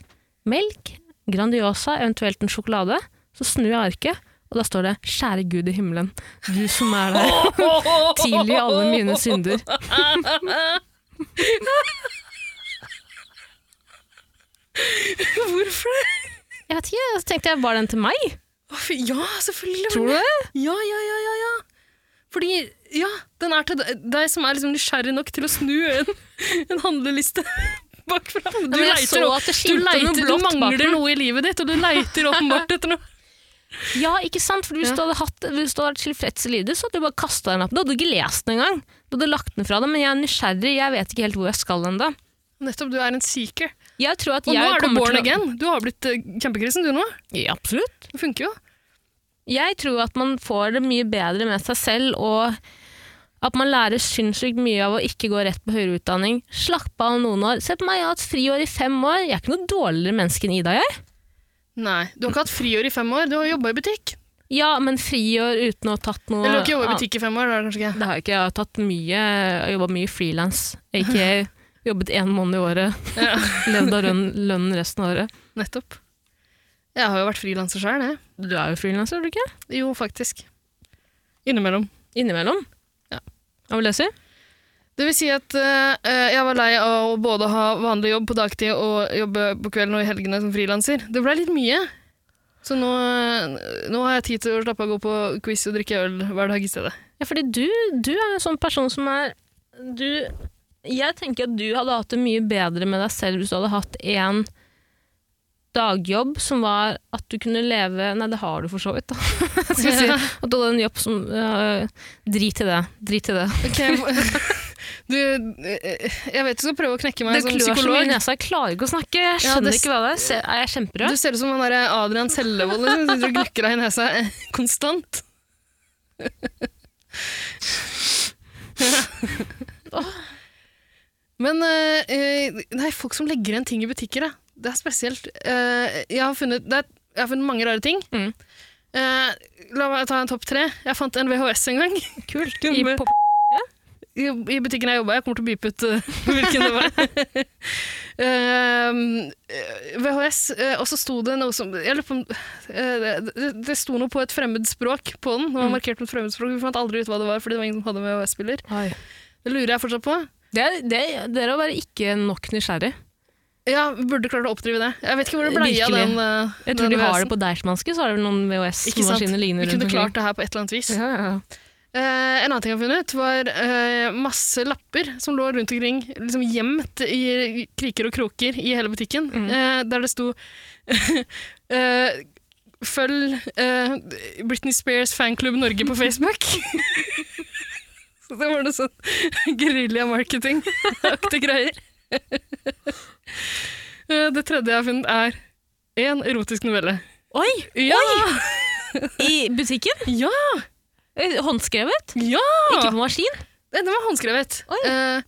[SPEAKER 2] Melk, Grandiosa, eventuelt en sjokolade. Så snur jeg arket, og da står det 'Kjære Gud i himmelen, du som er der, tilgi alle mine synder'.
[SPEAKER 1] Hvorfor det?
[SPEAKER 2] Jeg vet ikke, så tenkte jeg, var den til meg?
[SPEAKER 1] Å, fy- Ja, selvfølgelig.
[SPEAKER 2] Tror du det?
[SPEAKER 1] Ja, ja, ja, ja, ja. Fordi, ja, den er til deg- deg som er liksom nysgjerrig nok til å snu en, en handleliste bakfra. Du
[SPEAKER 2] men jeg
[SPEAKER 1] leiter,
[SPEAKER 2] så
[SPEAKER 1] opp-
[SPEAKER 2] at det
[SPEAKER 1] du,
[SPEAKER 2] skimtet noe
[SPEAKER 1] leiter, du
[SPEAKER 2] blått bak
[SPEAKER 1] mangler
[SPEAKER 2] den.
[SPEAKER 1] noe i livet ditt, og du leiter åpenbart etter noe.
[SPEAKER 2] Ja, ikke sant? For hvis,
[SPEAKER 1] Ja.
[SPEAKER 2] du hadde hatt, hvis du hadde vært tilfreds i livet, så hadde du bare kasta den opp. Du hadde ikke lest den engang. Du hadde lagt den fra deg, men jeg er nysgjerrig, jeg vet ikke helt hvor jeg skal ennå.
[SPEAKER 1] Nettopp, du er en seeker.
[SPEAKER 2] Jeg tror at
[SPEAKER 1] Og nå
[SPEAKER 2] jeg
[SPEAKER 1] er du
[SPEAKER 2] kommer
[SPEAKER 1] born
[SPEAKER 2] til å-
[SPEAKER 1] again. Du har blitt eh, kjempekristen, du nå.
[SPEAKER 2] Ja, absolutt.
[SPEAKER 1] Det funker jo.
[SPEAKER 2] Jeg tror at man får det mye bedre med seg selv, og at man lærer sinnssykt mye av å ikke gå rett på høyere utdanning. Slappe av noen år. Se på meg, jeg har hatt friår i fem år. Jeg er ikke noe dårligere menneske enn Ida, jeg.
[SPEAKER 1] Nei, du har ikke hatt friår i fem år. Du har jobba i butikk.
[SPEAKER 2] Ja, men friår uten å ha tatt noe
[SPEAKER 1] Eller du har ikke jobba i
[SPEAKER 2] annet.
[SPEAKER 1] butikk i fem år. Det har du kanskje ikke.
[SPEAKER 2] Det har jeg ikke. Jeg har tatt mye, jeg har jobba mye frilans. Ikke jobbet én måned i året.
[SPEAKER 1] Ja.
[SPEAKER 2] Levd av lønn, lønnen resten av året.
[SPEAKER 1] Nettopp. Jeg har jo vært frilanser sjøl, jeg.
[SPEAKER 2] Du er jo frilanser, er du ikke?
[SPEAKER 1] Jo, faktisk. Innimellom.
[SPEAKER 2] Innimellom.
[SPEAKER 1] Ja.
[SPEAKER 2] Hva vil jeg si?
[SPEAKER 1] Det vil si at eh, eh, jeg var lei av å både ha vanlig jobb på dagtid og jobbe på kvelden og i helgene som frilanser. Det ble litt mye. Så nå, eh, nå har jeg tid til å slappe av og gå på quiz og drikke øl hver dag i stedet.
[SPEAKER 2] Ja, fordi du, du er en sånn person som er du, Jeg tenker at du hadde hatt det mye bedre med deg selv hvis du hadde hatt én dagjobb som var at du kunne leve Nei, det har du for så vidt, da. Skal jeg si. At du hadde en jobb som øh, Drit i det. Drit i det.
[SPEAKER 1] Ok, du, eh, jeg vet du skal prøve å knekke meg
[SPEAKER 2] Det
[SPEAKER 1] som
[SPEAKER 2] klør så mye i
[SPEAKER 1] psykolog.
[SPEAKER 2] nesa. Jeg klarer ikke å snakke. Jeg
[SPEAKER 1] Ja,
[SPEAKER 2] skjønner
[SPEAKER 1] det-
[SPEAKER 2] ikke hva det er. Se, er jeg
[SPEAKER 1] Du
[SPEAKER 2] kjemperød?
[SPEAKER 1] ser ut som han der eh, Adrian Sellevold liksom, som sitter og glukker deg i nesa eh, konstant. Men eh, eh, nei, folk som legger igjen ting i butikker, da. det er spesielt. Eh, jeg, har funnet, det er, jeg har funnet mange rare ting.
[SPEAKER 2] Mm.
[SPEAKER 1] Eh, la meg ta en topp tre. Jeg fant en VHS en gang
[SPEAKER 2] Kult.
[SPEAKER 1] I
[SPEAKER 2] I pop
[SPEAKER 1] i, i butikken jeg jobba i. Jeg kommer til å beepe ut eh, hvilken det var. Ehm, eh, VHS, eh, og så sto det noe som jeg lurer på om, eh, det, det sto noe på et fremmed språk på den. Det var
[SPEAKER 2] Mm.
[SPEAKER 1] markert med et fremmed språk. Vi fant aldri ut hva det var, fordi det var ingen som hadde VHS-spiller.
[SPEAKER 2] Oi.
[SPEAKER 1] Det lurer jeg fortsatt på.
[SPEAKER 2] det, er- det, det er å være ikke nok nysgjerrig.
[SPEAKER 1] Ja, vi burde klart å oppdrive det. Jeg vet ikke hvor det blei av
[SPEAKER 2] Virkelig.
[SPEAKER 1] den. eh,
[SPEAKER 2] Jeg tror
[SPEAKER 1] den
[SPEAKER 2] de har
[SPEAKER 1] VHS-en.
[SPEAKER 2] det på Deichmanske, så har de noen
[SPEAKER 1] Ikke sant?
[SPEAKER 2] VHS-maskiner lignende
[SPEAKER 1] Vi
[SPEAKER 2] rundt
[SPEAKER 1] kunne
[SPEAKER 2] omkring.
[SPEAKER 1] klart det her på et eller annet vis.
[SPEAKER 2] Ja, ja, ja.
[SPEAKER 1] Eh, en annen ting jeg har funnet, var eh, masse lapper som lå rundt omkring, liksom gjemt i kriker og kroker i hele butikken, eh, der det sto eh, Følg eh, Britney Spears fanklubb Norge på Facebook. Så det var noe sånn gerilja-marketing-aktige greier. Eh, det tredje jeg har funnet, er en erotisk novelle.
[SPEAKER 2] Oi!
[SPEAKER 1] Ja!
[SPEAKER 2] I butikken?
[SPEAKER 1] Ja!
[SPEAKER 2] Eh, Håndskrevet?
[SPEAKER 1] ja.
[SPEAKER 2] Ikke på maskin?
[SPEAKER 1] Eh, Den var håndskrevet.
[SPEAKER 2] Oi.
[SPEAKER 1] Eh,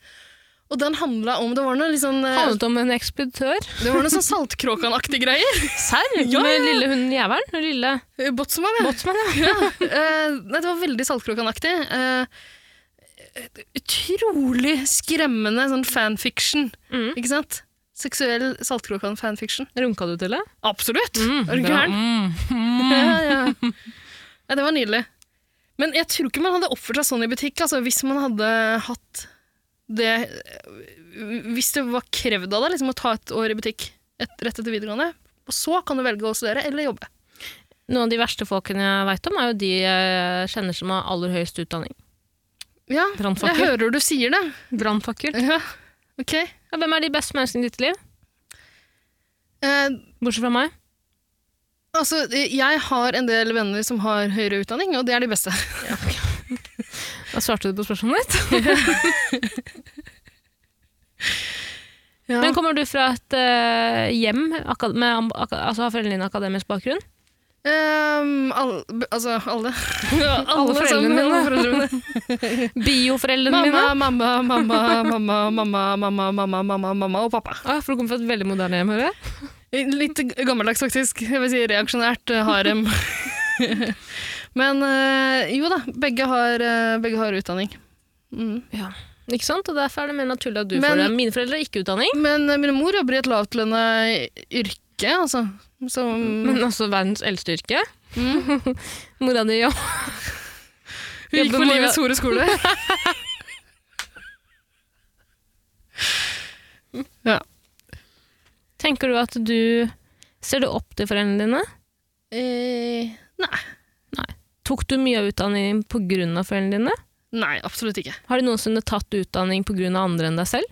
[SPEAKER 1] og den handla om Det var noe litt sånn, eh,
[SPEAKER 2] Handlet om en ekspeditør.
[SPEAKER 1] det var noe sånn Saltkråkan-aktige greier.
[SPEAKER 2] Serr?
[SPEAKER 1] Ja, ja, ja.
[SPEAKER 2] Med lille hunden Jævelen? og Lille
[SPEAKER 1] Eh, Botsman, ja.
[SPEAKER 2] Båtsmann, ja.
[SPEAKER 1] Eh, nei, det var veldig Saltkråkan-aktig. Eh, utrolig skremmende sånn fanfiction.
[SPEAKER 2] Mm.
[SPEAKER 1] Ikke sant? Seksuell Saltkråkan-fanfiction.
[SPEAKER 2] Runka du til det?
[SPEAKER 1] Absolutt! er du
[SPEAKER 2] bra.
[SPEAKER 1] gæren?
[SPEAKER 2] Mm.
[SPEAKER 1] Ja, ja. Nei, det var nydelig. Men jeg tror ikke man hadde oppført seg sånn i butikk altså, hvis man hadde hatt det eh, Hvis det var krevd av deg liksom, å ta et år i butikk et, rett etter videregående, og så kan du velge å studere eller jobbe.
[SPEAKER 2] Noen av de verste folkene jeg veit om, er jo de jeg kjenner som har aller høyest utdanning.
[SPEAKER 1] Ja, jeg
[SPEAKER 2] Brannfakkel.
[SPEAKER 1] hører du sier det.
[SPEAKER 2] Brannfakkel.
[SPEAKER 1] Ja, ok.
[SPEAKER 2] Ja, hvem er de beste menneskene i ditt liv?
[SPEAKER 1] Eh,
[SPEAKER 2] Bortsett fra meg.
[SPEAKER 1] altså, jeg har en del venner som har høyere utdanning, og det er de beste.
[SPEAKER 2] Da svarte du på spørsmålet ditt.
[SPEAKER 1] Ja.
[SPEAKER 2] Men kommer du fra et eh, hjem akad- med am- aka- altså har foreldrene dine akademisk bakgrunn?
[SPEAKER 1] Ehm, alle- b- altså, alle. alle,
[SPEAKER 2] foreldrene
[SPEAKER 1] sammen,
[SPEAKER 2] mine.
[SPEAKER 1] Alle foreldrene mine.
[SPEAKER 2] Bioforeldrene mine?
[SPEAKER 1] Mamma, mamma, mamma, mamma, mamma, mamma, mamma, mamma, mamma og pappa.
[SPEAKER 2] Ah, for du kommer fra et veldig moderne hjem, hører jeg.
[SPEAKER 1] Litt gammeldags, faktisk. Jeg vil si reaksjonært eh, harem. Men eh, jo da, begge har, eh, begge har utdanning. Mm.
[SPEAKER 2] Ikke sant? Og derfor er det mer naturlig at du
[SPEAKER 1] Men-
[SPEAKER 2] får det. Mine foreldre har ikke utdanning,
[SPEAKER 1] Men eh, min mor jobber i et lavtlønna yrke, altså. Som
[SPEAKER 2] men også verdens eldste yrke.
[SPEAKER 1] mm.
[SPEAKER 2] Mora di jobb-
[SPEAKER 1] Hun gikk på
[SPEAKER 2] Jobber mora-
[SPEAKER 1] livets hore skole.
[SPEAKER 2] Tenker du at du Ser du opp til foreldrene dine?
[SPEAKER 1] Eh,
[SPEAKER 2] Tok du mye av utdanningen pga. foreldrene dine?
[SPEAKER 1] nei, absolutt ikke.
[SPEAKER 2] Har de noensinne tatt utdanning pga. andre enn deg selv?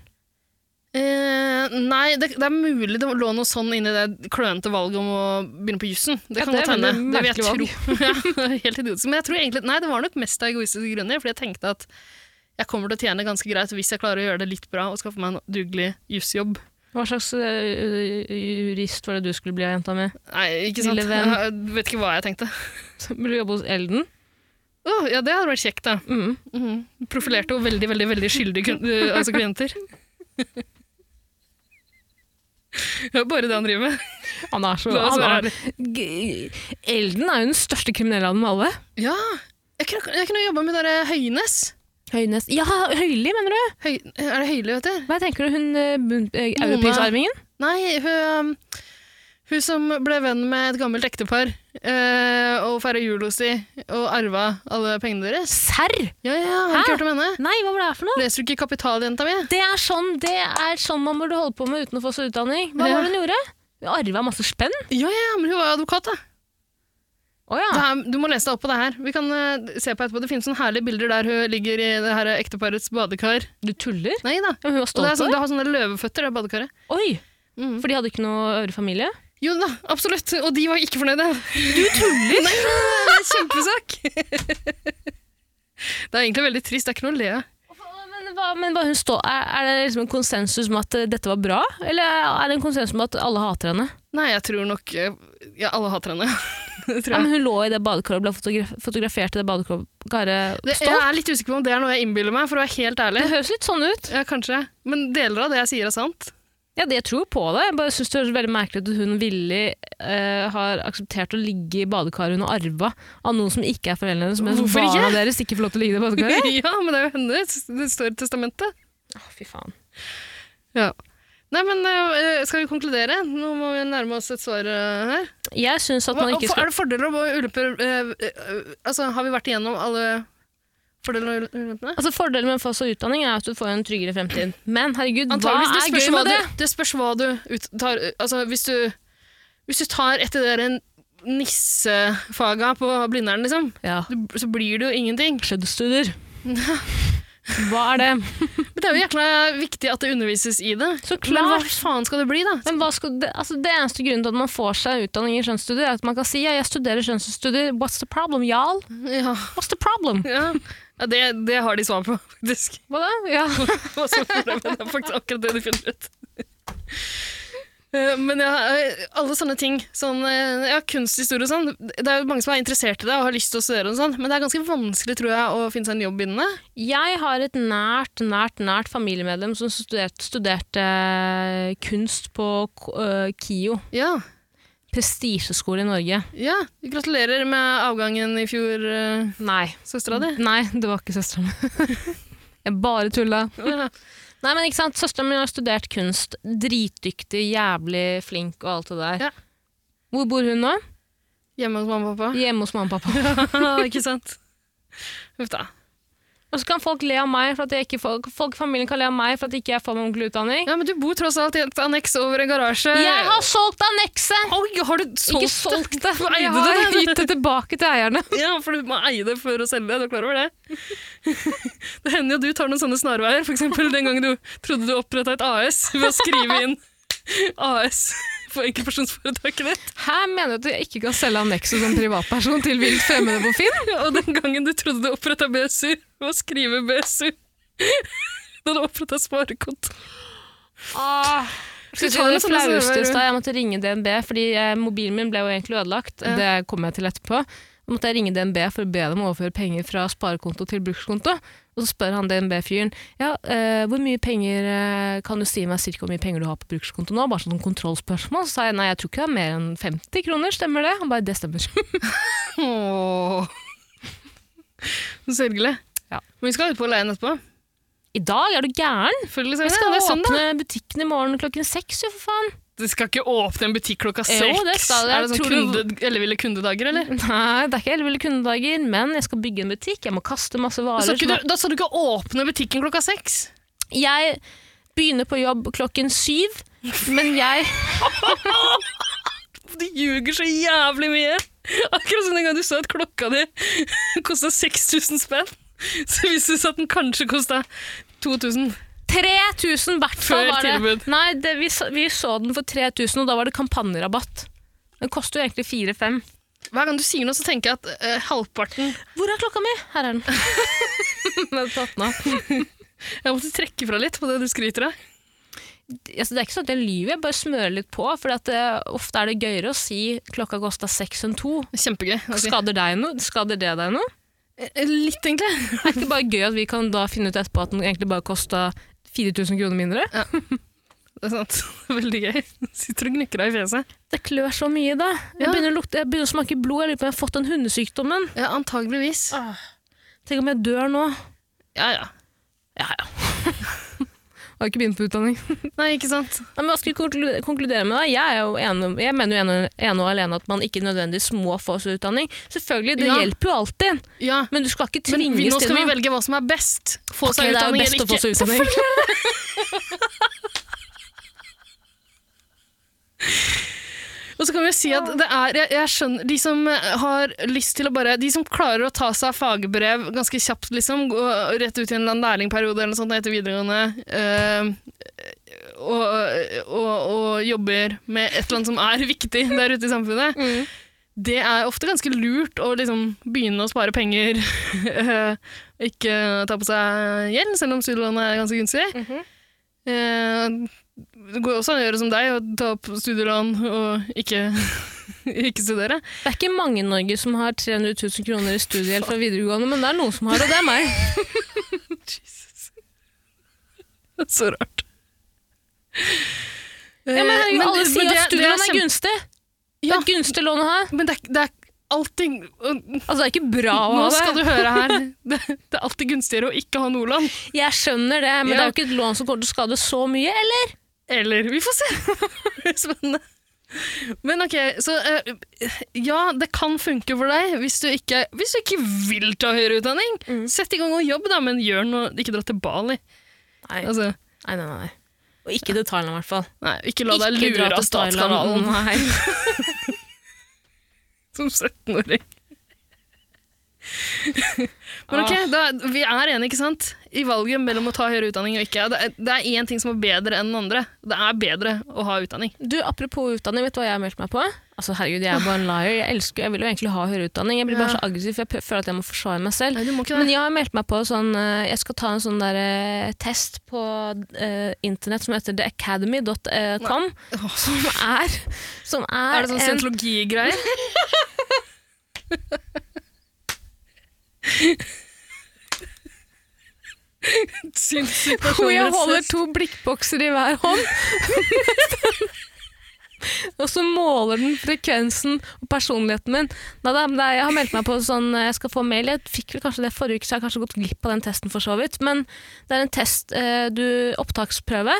[SPEAKER 1] Eh, nei, det, det er mulig det lå noe sånn inni det klønete valget om å begynne på jussen. Det
[SPEAKER 2] Ja,
[SPEAKER 1] kan
[SPEAKER 2] det
[SPEAKER 1] godt
[SPEAKER 2] er
[SPEAKER 1] hende.
[SPEAKER 2] veldig
[SPEAKER 1] Det vil jeg tro.
[SPEAKER 2] merkelig
[SPEAKER 1] ja, det er helt idiotisk. Men jeg tror egentlig, nei, det var nok mest av egoistiske grunner, fordi jeg tenkte at jeg kommer til å tjene ganske greit hvis jeg klarer å gjøre det litt bra og skaffe meg en dugelig jussjobb.
[SPEAKER 2] Hva slags ø, ø, jurist var det du skulle bli av jenta mi?
[SPEAKER 1] Nei, ikke sant.
[SPEAKER 2] Lille venn.
[SPEAKER 1] Jeg vet ikke hva jeg tenkte.
[SPEAKER 2] Vil du jobbe hos Elden?
[SPEAKER 1] Åh, ja, det hadde vært kjekt, da.
[SPEAKER 2] Mm.
[SPEAKER 1] Mhm. Profilerte og veldig, veldig, veldig skyldige kun- øh, altså klienter. Det er bare det han driver med.
[SPEAKER 2] Han er så
[SPEAKER 1] La oss
[SPEAKER 2] han
[SPEAKER 1] være
[SPEAKER 2] er, G- Elden er jo den største kriminelle av dem alle.
[SPEAKER 1] Ja, jeg kunne, jeg kunne jobba med det der Høynes.
[SPEAKER 2] Høynes Ja, Høyli, mener du?
[SPEAKER 1] Høy, er det Høyli, vet du?
[SPEAKER 2] Hva tenker du, hun eh, ø, bun- ø, europeisarmingen?
[SPEAKER 1] Nei, hun, um, hun som ble venn med et gammelt ektepar eh, og feira jul hos de og arva alle pengene deres.
[SPEAKER 2] Serr?
[SPEAKER 1] Ja, ja, har du
[SPEAKER 2] Hæ?
[SPEAKER 1] ikke hørt om henne?
[SPEAKER 2] Nei, hva var det her for noe?
[SPEAKER 1] Leser du ikke Kapital, jenta mi?
[SPEAKER 2] Det er sånn, det er sånn man burde holde på med uten å få seg utdanning. Hva var det hun gjorde? Hun arva masse spenn?
[SPEAKER 1] Ja, ja, men hun var jo advokat, da.
[SPEAKER 2] Å ja.
[SPEAKER 1] Det her, du må lese deg opp på det her. Vi kan eh, se på etterpå. Det finnes sånne herlige bilder der hun ligger i det her ekteparets badekar.
[SPEAKER 2] Du tuller?
[SPEAKER 1] Nei da.
[SPEAKER 2] Ja, men hun var
[SPEAKER 1] Og det,
[SPEAKER 2] stolt
[SPEAKER 1] er sånn, det har sånne løveføtter, det badekaret.
[SPEAKER 2] Oi!
[SPEAKER 1] Mm.
[SPEAKER 2] For de hadde ikke noe øvrig familie?
[SPEAKER 1] Jo da, absolutt. Og de var ikke fornøyde. Du tuller! Nei, det er kjempesak. Det er egentlig veldig trist. Det er ikke noe å le av.
[SPEAKER 2] Men, hva, men hva hun stå, er, er det liksom en konsensus om at eh, dette var bra, eller er det en konsensus om at alle hater henne?
[SPEAKER 1] Nei, jeg tror nok eh, Ja, alle hater henne. Det tror
[SPEAKER 2] Ja,
[SPEAKER 1] jeg.
[SPEAKER 2] men hun lå i det badekaret og ble fotograf fotografert i det badekaret.
[SPEAKER 1] Det, jeg
[SPEAKER 2] Stolt.
[SPEAKER 1] er litt usikker på om det er noe jeg innbiller meg, for å være helt ærlig.
[SPEAKER 2] Det høres litt sånn ut.
[SPEAKER 1] Ja, kanskje. Men deler av det jeg sier, er sant.
[SPEAKER 2] Ja, det jeg tror på det. Jeg bare synes det høres veldig merkelig ut at hun villig eh, har akseptert å ligge i badekaret hun har arva av noen som ikke er foreldrene hennes, men som
[SPEAKER 1] Hvorfor ikke?
[SPEAKER 2] barna deres ikke får lov til å ligge i det badekaret.
[SPEAKER 1] Ja, men det er jo hennes. Det står i testamentet.
[SPEAKER 2] Å, fy faen.
[SPEAKER 1] Ja. Nei, men eh, skal vi konkludere? Nå må vi nærme oss et svar eh, her.
[SPEAKER 2] Jeg synes at
[SPEAKER 1] Hva,
[SPEAKER 2] man ikke
[SPEAKER 1] for-
[SPEAKER 2] skal
[SPEAKER 1] Er det fordeler og ulemper eh, eh, Altså, har vi vært igjennom alle fordeler og ulempene?
[SPEAKER 2] Altså Fordelen med å få seg utdanning er at du får en tryggere fremtid. Men herregud, hva er
[SPEAKER 1] Antageligvis, det spørs
[SPEAKER 2] gøy
[SPEAKER 1] hva
[SPEAKER 2] med det?
[SPEAKER 1] du, det spørs hva du ut, tar Altså, hvis du, hvis du tar etter det der en nissefaga på Blindern, liksom,
[SPEAKER 2] Ja.
[SPEAKER 1] du- så blir det jo ingenting.
[SPEAKER 2] Skjøddstudier. Hva er det?
[SPEAKER 1] Men det er jo jækla viktig at det undervises i det.
[SPEAKER 2] Så
[SPEAKER 1] Men hva
[SPEAKER 2] klart!
[SPEAKER 1] faen skal det bli, da?
[SPEAKER 2] Men hva skal, det, altså det eneste grunnen til at man får seg utdanning i kjønnsstudier, er at man kan si ja, jeg studerer kjønnsstudier. What's the problem, y'all?
[SPEAKER 1] Ja,
[SPEAKER 2] What's the problem?
[SPEAKER 1] ja. ja det, det har de svar på, faktisk.
[SPEAKER 2] Hva da? Ja.
[SPEAKER 1] Hva som er problemet, det er faktisk akkurat det du finner ut. Eh, Men ja, eh, alle sånne ting, sånn, eh, ja, kunsthistorie og sånn, det er jo mange som er interessert i det og har lyst til å studere og sånn, men det er ganske vanskelig, tror jeg, å finne seg en jobb innen det.
[SPEAKER 2] Jeg har et nært, nært, nært familiemedlem som studerte, studerte eh, kunst på K- øh, KIO,
[SPEAKER 1] Ja,
[SPEAKER 2] prestisjeskole i Norge.
[SPEAKER 1] ja, gratulerer med avgangen i fjor, eh,
[SPEAKER 2] Nei,
[SPEAKER 1] søstera di.
[SPEAKER 2] nei, det var ikke søstera mi. Jeg bare tulla.
[SPEAKER 1] Ja.
[SPEAKER 2] Nei, men ikke sant, Søsteren min har studert kunst. Dritdyktig, jævlig flink og alt det der.
[SPEAKER 1] Ja.
[SPEAKER 2] Hvor bor hun nå?
[SPEAKER 1] Hjemme hos mamma og pappa.
[SPEAKER 2] Hjemme hos mamma og pappa.
[SPEAKER 1] Ja, ikke sant? Uff da.
[SPEAKER 2] Og så kan folk le av meg for at jeg ikke får, folk i familien kan le av meg for at ikke jeg får meg ordentlig utdanning.
[SPEAKER 1] Ja, men du bor tross alt i et anneks over en garasje.
[SPEAKER 2] Jeg har solgt annekset!
[SPEAKER 1] Oi, har du solgt
[SPEAKER 2] Ikke solgt det.
[SPEAKER 1] Hvor eide
[SPEAKER 2] Jeg
[SPEAKER 1] du
[SPEAKER 2] har
[SPEAKER 1] det?
[SPEAKER 2] gitt det tilbake til eierne.
[SPEAKER 1] Ja, for du må eie det for å selge det. Du er klar over det? Det hender jo du tar noen sånne snarveier. For eksempel den gangen du trodde du oppretta et AS ved å skrive inn AS på enkeltpersonsforetaket ditt.
[SPEAKER 2] Her mener du at jeg ikke kan selge annekset som privatperson til vilt fremmede på Finn?
[SPEAKER 1] Og den gangen du trodde du oppretta BSU ved å skrive BSU. Da du oppretta sparekonto.
[SPEAKER 2] Skal vi ta Ah,
[SPEAKER 1] Skal vi ta
[SPEAKER 2] det
[SPEAKER 1] noe sånt,
[SPEAKER 2] flaueste
[SPEAKER 1] så
[SPEAKER 2] i
[SPEAKER 1] er det-
[SPEAKER 2] stad? Jeg måtte ringe DNB, fordi eh, mobilen min ble jo egentlig ødelagt.
[SPEAKER 1] Ja.
[SPEAKER 2] Det kommer jeg til etterpå. Da måtte jeg ringe DNB for å be dem overføre penger fra sparekonto til brukskonto. Og så spør han DNB-fyren ja, eh, hvor mye penger eh, kan du si meg cirka hvor mye penger du har på brukskonto nå? Bare sånn kontrollspørsmål. Så sa jeg nei, jeg tror ikke det er mer enn 50 kroner, stemmer det? Han bare det stemmer.
[SPEAKER 1] Åh. Sørgelig.
[SPEAKER 2] Ja.
[SPEAKER 1] Men vi skal ut på leien etterpå.
[SPEAKER 2] I dag, er du gæren?
[SPEAKER 1] Selvfølgelig
[SPEAKER 2] Jeg
[SPEAKER 1] skal vi
[SPEAKER 2] skal
[SPEAKER 1] det. Det er søndag.
[SPEAKER 2] åpne butikken i morgen klokken seks, jo for faen.
[SPEAKER 1] Du skal ikke åpne en butikk klokka
[SPEAKER 2] Jo,
[SPEAKER 1] seks?
[SPEAKER 2] det skal jeg.
[SPEAKER 1] Er det sånn
[SPEAKER 2] Tror du-
[SPEAKER 1] kunde, elleville kundedager, eller?
[SPEAKER 2] Nei, det er ikke elleville kundedager, men jeg skal bygge en butikk. Jeg må kaste masse
[SPEAKER 1] Da
[SPEAKER 2] varer.
[SPEAKER 1] sa, ikke
[SPEAKER 2] som er-
[SPEAKER 1] Altså, du, da sa du ikke åpne butikken klokka seks?
[SPEAKER 2] Jeg begynner på jobb klokken syv, men jeg
[SPEAKER 1] Du ljuger så jævlig mye! Akkurat som den gang du sa at klokka di kosta 6000 spenn, så viste det seg at den kanskje kosta 2000.
[SPEAKER 2] 3000 i hvert fall
[SPEAKER 1] Før
[SPEAKER 2] var det.
[SPEAKER 1] tilbud.
[SPEAKER 2] Nei, det, vi, så- vi så den for 3000, og da var det kampanjerabatt. Den koster jo egentlig 4-5.
[SPEAKER 1] Hver gang du sier noe, så tenker jeg at eh, halvparten
[SPEAKER 2] Hvor er klokka mi? Her er den. den er tatt nå.
[SPEAKER 1] Jeg måtte trekke fra litt på det du skryter av.
[SPEAKER 2] Altså, det er ikke sånn at jeg lyver, jeg bare smører litt på. For at, eh, ofte er det gøyere å si klokka kosta seks enn to.
[SPEAKER 1] Kjempegøy. å si.
[SPEAKER 2] Skader, deg noe? Skader det deg noe?
[SPEAKER 1] Eh, Litt, egentlig.
[SPEAKER 2] Er det ikke bare gøy at vi kan da finne ut etterpå at den egentlig bare kosta 4000 kroner mindre?
[SPEAKER 1] Det er sant. Veldig gøy. Sitter og gnikker deg i fjeset.
[SPEAKER 2] Det klør så mye da. Jeg,
[SPEAKER 1] Ja.
[SPEAKER 2] begynner å lukte, jeg begynner å smake blod. Jeg lurer på om jeg har fått den hundesykdommen.
[SPEAKER 1] Ja, antageligvis.
[SPEAKER 2] Tenk om jeg dør nå.
[SPEAKER 1] Ja, ja.
[SPEAKER 2] Ja, ja. Har ikke begynt på utdanning.
[SPEAKER 1] Nei, ikke sant.
[SPEAKER 2] Nei, men hva skal vi konklu- konkludere med? da? Jeg, er jo ene, jeg mener jo ene, ene og alene at man ikke nødvendigvis må få seg utdanning. Selvfølgelig, det
[SPEAKER 1] Ja.
[SPEAKER 2] hjelper jo alltid.
[SPEAKER 1] Ja.
[SPEAKER 2] Men du skal ikke
[SPEAKER 1] Men vi,
[SPEAKER 2] tvinges
[SPEAKER 1] nå
[SPEAKER 2] til
[SPEAKER 1] skal vi
[SPEAKER 2] noe.
[SPEAKER 1] velge hva som er best. Få
[SPEAKER 2] Ok, det er
[SPEAKER 1] seg
[SPEAKER 2] jo
[SPEAKER 1] utdanning
[SPEAKER 2] best
[SPEAKER 1] eller
[SPEAKER 2] å få
[SPEAKER 1] ikke.
[SPEAKER 2] seg utdanning.
[SPEAKER 1] Og så kan vi jo si at det er, jeg, jeg skjønner, de som eh, har lyst til å bare, de som klarer å ta seg fagbrev ganske kjapt, liksom, gå rett ut i en eller annen lærlingperiode eller noe sånt etter videregående, eh, og, og, og jobber med et eller annet som er viktig der ute i samfunnet,
[SPEAKER 2] Mm.
[SPEAKER 1] det er ofte ganske lurt å liksom begynne å spare penger, eh, ikke ta på seg gjeld, selv om studielånet er ganske gunstig. Eh, det går også an å gjøre som deg, og ta opp studielån og ikke, ikke studere.
[SPEAKER 2] Det er ikke mange i Norge som har 300 000 kroner i studiehjelp fra videregående, men det er noen som har, og det er meg.
[SPEAKER 1] Det er så rart.
[SPEAKER 2] Ja,
[SPEAKER 1] Eh,
[SPEAKER 2] men, herregud, alle sier at studielån er
[SPEAKER 1] gunstig.
[SPEAKER 2] gunstig. Det
[SPEAKER 1] Ja.
[SPEAKER 2] er et gunstig lån å ha.
[SPEAKER 1] Men det er, det er alltid Nå
[SPEAKER 2] Altså, det er ikke bra å ha det.
[SPEAKER 1] skal du høre her. Det, det er alltid gunstigere å ikke ha noe lån.
[SPEAKER 2] Jeg skjønner det, men
[SPEAKER 1] Ja.
[SPEAKER 2] det er jo ikke et lån som kommer til å skade så mye, eller?
[SPEAKER 1] Eller Vi får se. Det er Spennende. Men ok, så eh, ja, det kan funke for deg hvis du ikke, hvis du ikke vil ta høyere utdanning.
[SPEAKER 2] Mm.
[SPEAKER 1] Sett i gang og jobb, da, men gjør noe, ikke dra til Bali.
[SPEAKER 2] Nei,
[SPEAKER 1] Altså,
[SPEAKER 2] nei, nei. nei. Og ikke til Thailand, i hvert fall.
[SPEAKER 1] nei, ikke la deg
[SPEAKER 2] Ikke dra
[SPEAKER 1] lure av
[SPEAKER 2] til Thailand,
[SPEAKER 1] statskanalen.
[SPEAKER 2] Nei.
[SPEAKER 1] som 17-åring. Men ok, da, vi er enige, ikke sant? I valget mellom å ta høyere utdanning og ikke. Det er- det er én ting som er bedre enn den andre. Det er bedre å ha utdanning.
[SPEAKER 2] Du, Apropos utdanning, vet du hva jeg har meldt meg på? Altså, herregud, Jeg er bare en liar. Jeg elsker, jeg vil jo egentlig ha høyere utdanning. Jeg blir bare
[SPEAKER 1] Ja.
[SPEAKER 2] så aggressiv, for jeg prø- føler at jeg må forsvare meg selv.
[SPEAKER 1] Nei, du må ikke
[SPEAKER 2] Men
[SPEAKER 1] det.
[SPEAKER 2] jeg har meldt meg på sånn eh, Jeg skal ta en sånn der eh, test på eh, internett som heter eh, theacademy.com. Som er, som er,
[SPEAKER 1] Er det sånn
[SPEAKER 2] en-
[SPEAKER 1] scientologigreier? Syns
[SPEAKER 2] hvor jeg holder
[SPEAKER 1] situasjoner
[SPEAKER 2] to blikkbokser i hver hånd. og så måler den frekvensen og personligheten min. Nei, da, men det er- jeg har meldt meg på sånn eh, Jeg skal få mail. Jeg fikk vel kanskje det forrige uke, så jeg har kanskje gått glipp av den testen for så vidt. Men det er en test, eh, du, opptaksprøve.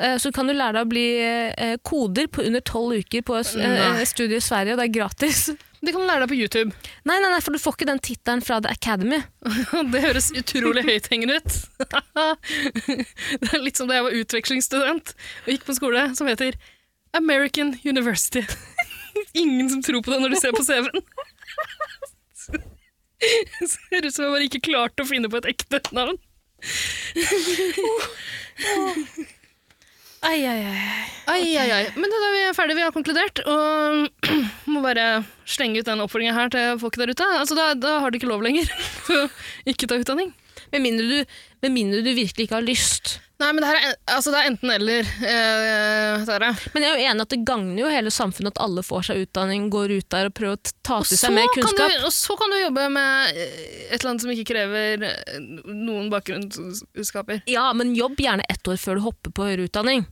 [SPEAKER 2] eh, Så kan du lære deg å bli eh, koder på under tolv uker på et
[SPEAKER 1] Nei.
[SPEAKER 2] eh, studie i Sverige, og det er gratis.
[SPEAKER 1] Det kan du lære deg på YouTube.
[SPEAKER 2] Nei, nei, nei, for du får ikke den tittelen fra The Academy.
[SPEAKER 1] Det høres utrolig høythengende ut. Det er litt som da jeg var utvekslingsstudent og gikk på skole som heter American University. Ingen som tror på det når de ser på CV-en. Ser ut som jeg bare ikke klarte å finne på et ekte navn.
[SPEAKER 2] Ai, ai, ai.
[SPEAKER 1] Ai, ai, ai. Men da er vi ferdige, vi har konkludert, og må bare slenge ut den oppfordringen her til folket der ute. Altså, da, da har de ikke lov lenger til å ikke ta utdanning.
[SPEAKER 2] Med mindre du, med mindre du virkelig ikke har lyst.
[SPEAKER 1] Nei, men det, her er, en- altså, det er enten eller, eh, Sara.
[SPEAKER 2] Men jeg er jo enig at det gagner jo hele samfunnet at alle får seg utdanning, går ut der og prøver å ta
[SPEAKER 1] Og
[SPEAKER 2] til
[SPEAKER 1] så,
[SPEAKER 2] seg mer
[SPEAKER 1] kan du,
[SPEAKER 2] kunnskap.
[SPEAKER 1] og så kan du jobbe med eh, et eller annet som ikke krever eh, noen bakgrunnsskaper.
[SPEAKER 2] Ja, men jobb gjerne ett år før du hopper på høyere utdanning.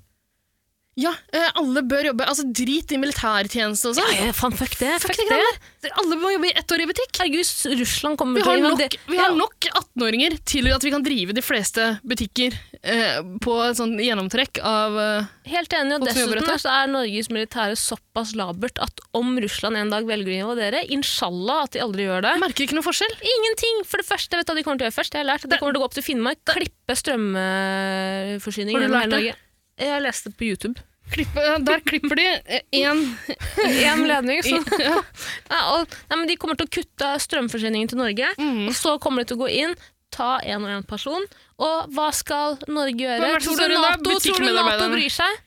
[SPEAKER 1] Ja, eh, alle bør jobbe. Altså, drit i militærtjeneste og
[SPEAKER 2] Ja,
[SPEAKER 1] sånn.
[SPEAKER 2] ja, faen, fuck det. Fuck,
[SPEAKER 1] det
[SPEAKER 2] det.
[SPEAKER 1] Alle må jobbe i ett år i butikk.
[SPEAKER 2] Herregud, s- Russland kommer
[SPEAKER 1] Vi har
[SPEAKER 2] til å
[SPEAKER 1] nok,
[SPEAKER 2] invadere-
[SPEAKER 1] vi har
[SPEAKER 2] Ja,
[SPEAKER 1] nok 18-åringer til at vi kan drive de fleste butikker eh, på et sånn gjennomtrekk av eh,
[SPEAKER 2] Helt enig, og
[SPEAKER 1] folk som jobber
[SPEAKER 2] dessuten
[SPEAKER 1] etter.
[SPEAKER 2] så er Norges militære såpass labert at om Russland en dag velger å invadere, inshallah at de aldri gjør det
[SPEAKER 1] Jeg merker ikke noe forskjell.
[SPEAKER 2] Ingenting! For det første, vet du hva de kommer til å gjøre først? Jeg har lært at de kommer til å gå opp til Finnmark, klippe strømforsyningen
[SPEAKER 1] Har du
[SPEAKER 2] gjennom hele
[SPEAKER 1] lært
[SPEAKER 2] Norge. Jeg leste det på YouTube.
[SPEAKER 1] Klippe, ja, eh, der klipper de eh, én
[SPEAKER 2] Én ledning, så
[SPEAKER 1] ja.
[SPEAKER 2] Nei, og, nei, men De kommer til å kutte strømforsyningen til Norge.
[SPEAKER 1] Mm.
[SPEAKER 2] Og så kommer de til å gå inn, ta en og en person. Og hva skal Norge gjøre?
[SPEAKER 1] Hvem er det som
[SPEAKER 2] Tror du,
[SPEAKER 1] står under?
[SPEAKER 2] NATO, tror du Nato
[SPEAKER 1] Butikkmedarbeiderne.
[SPEAKER 2] bryr seg?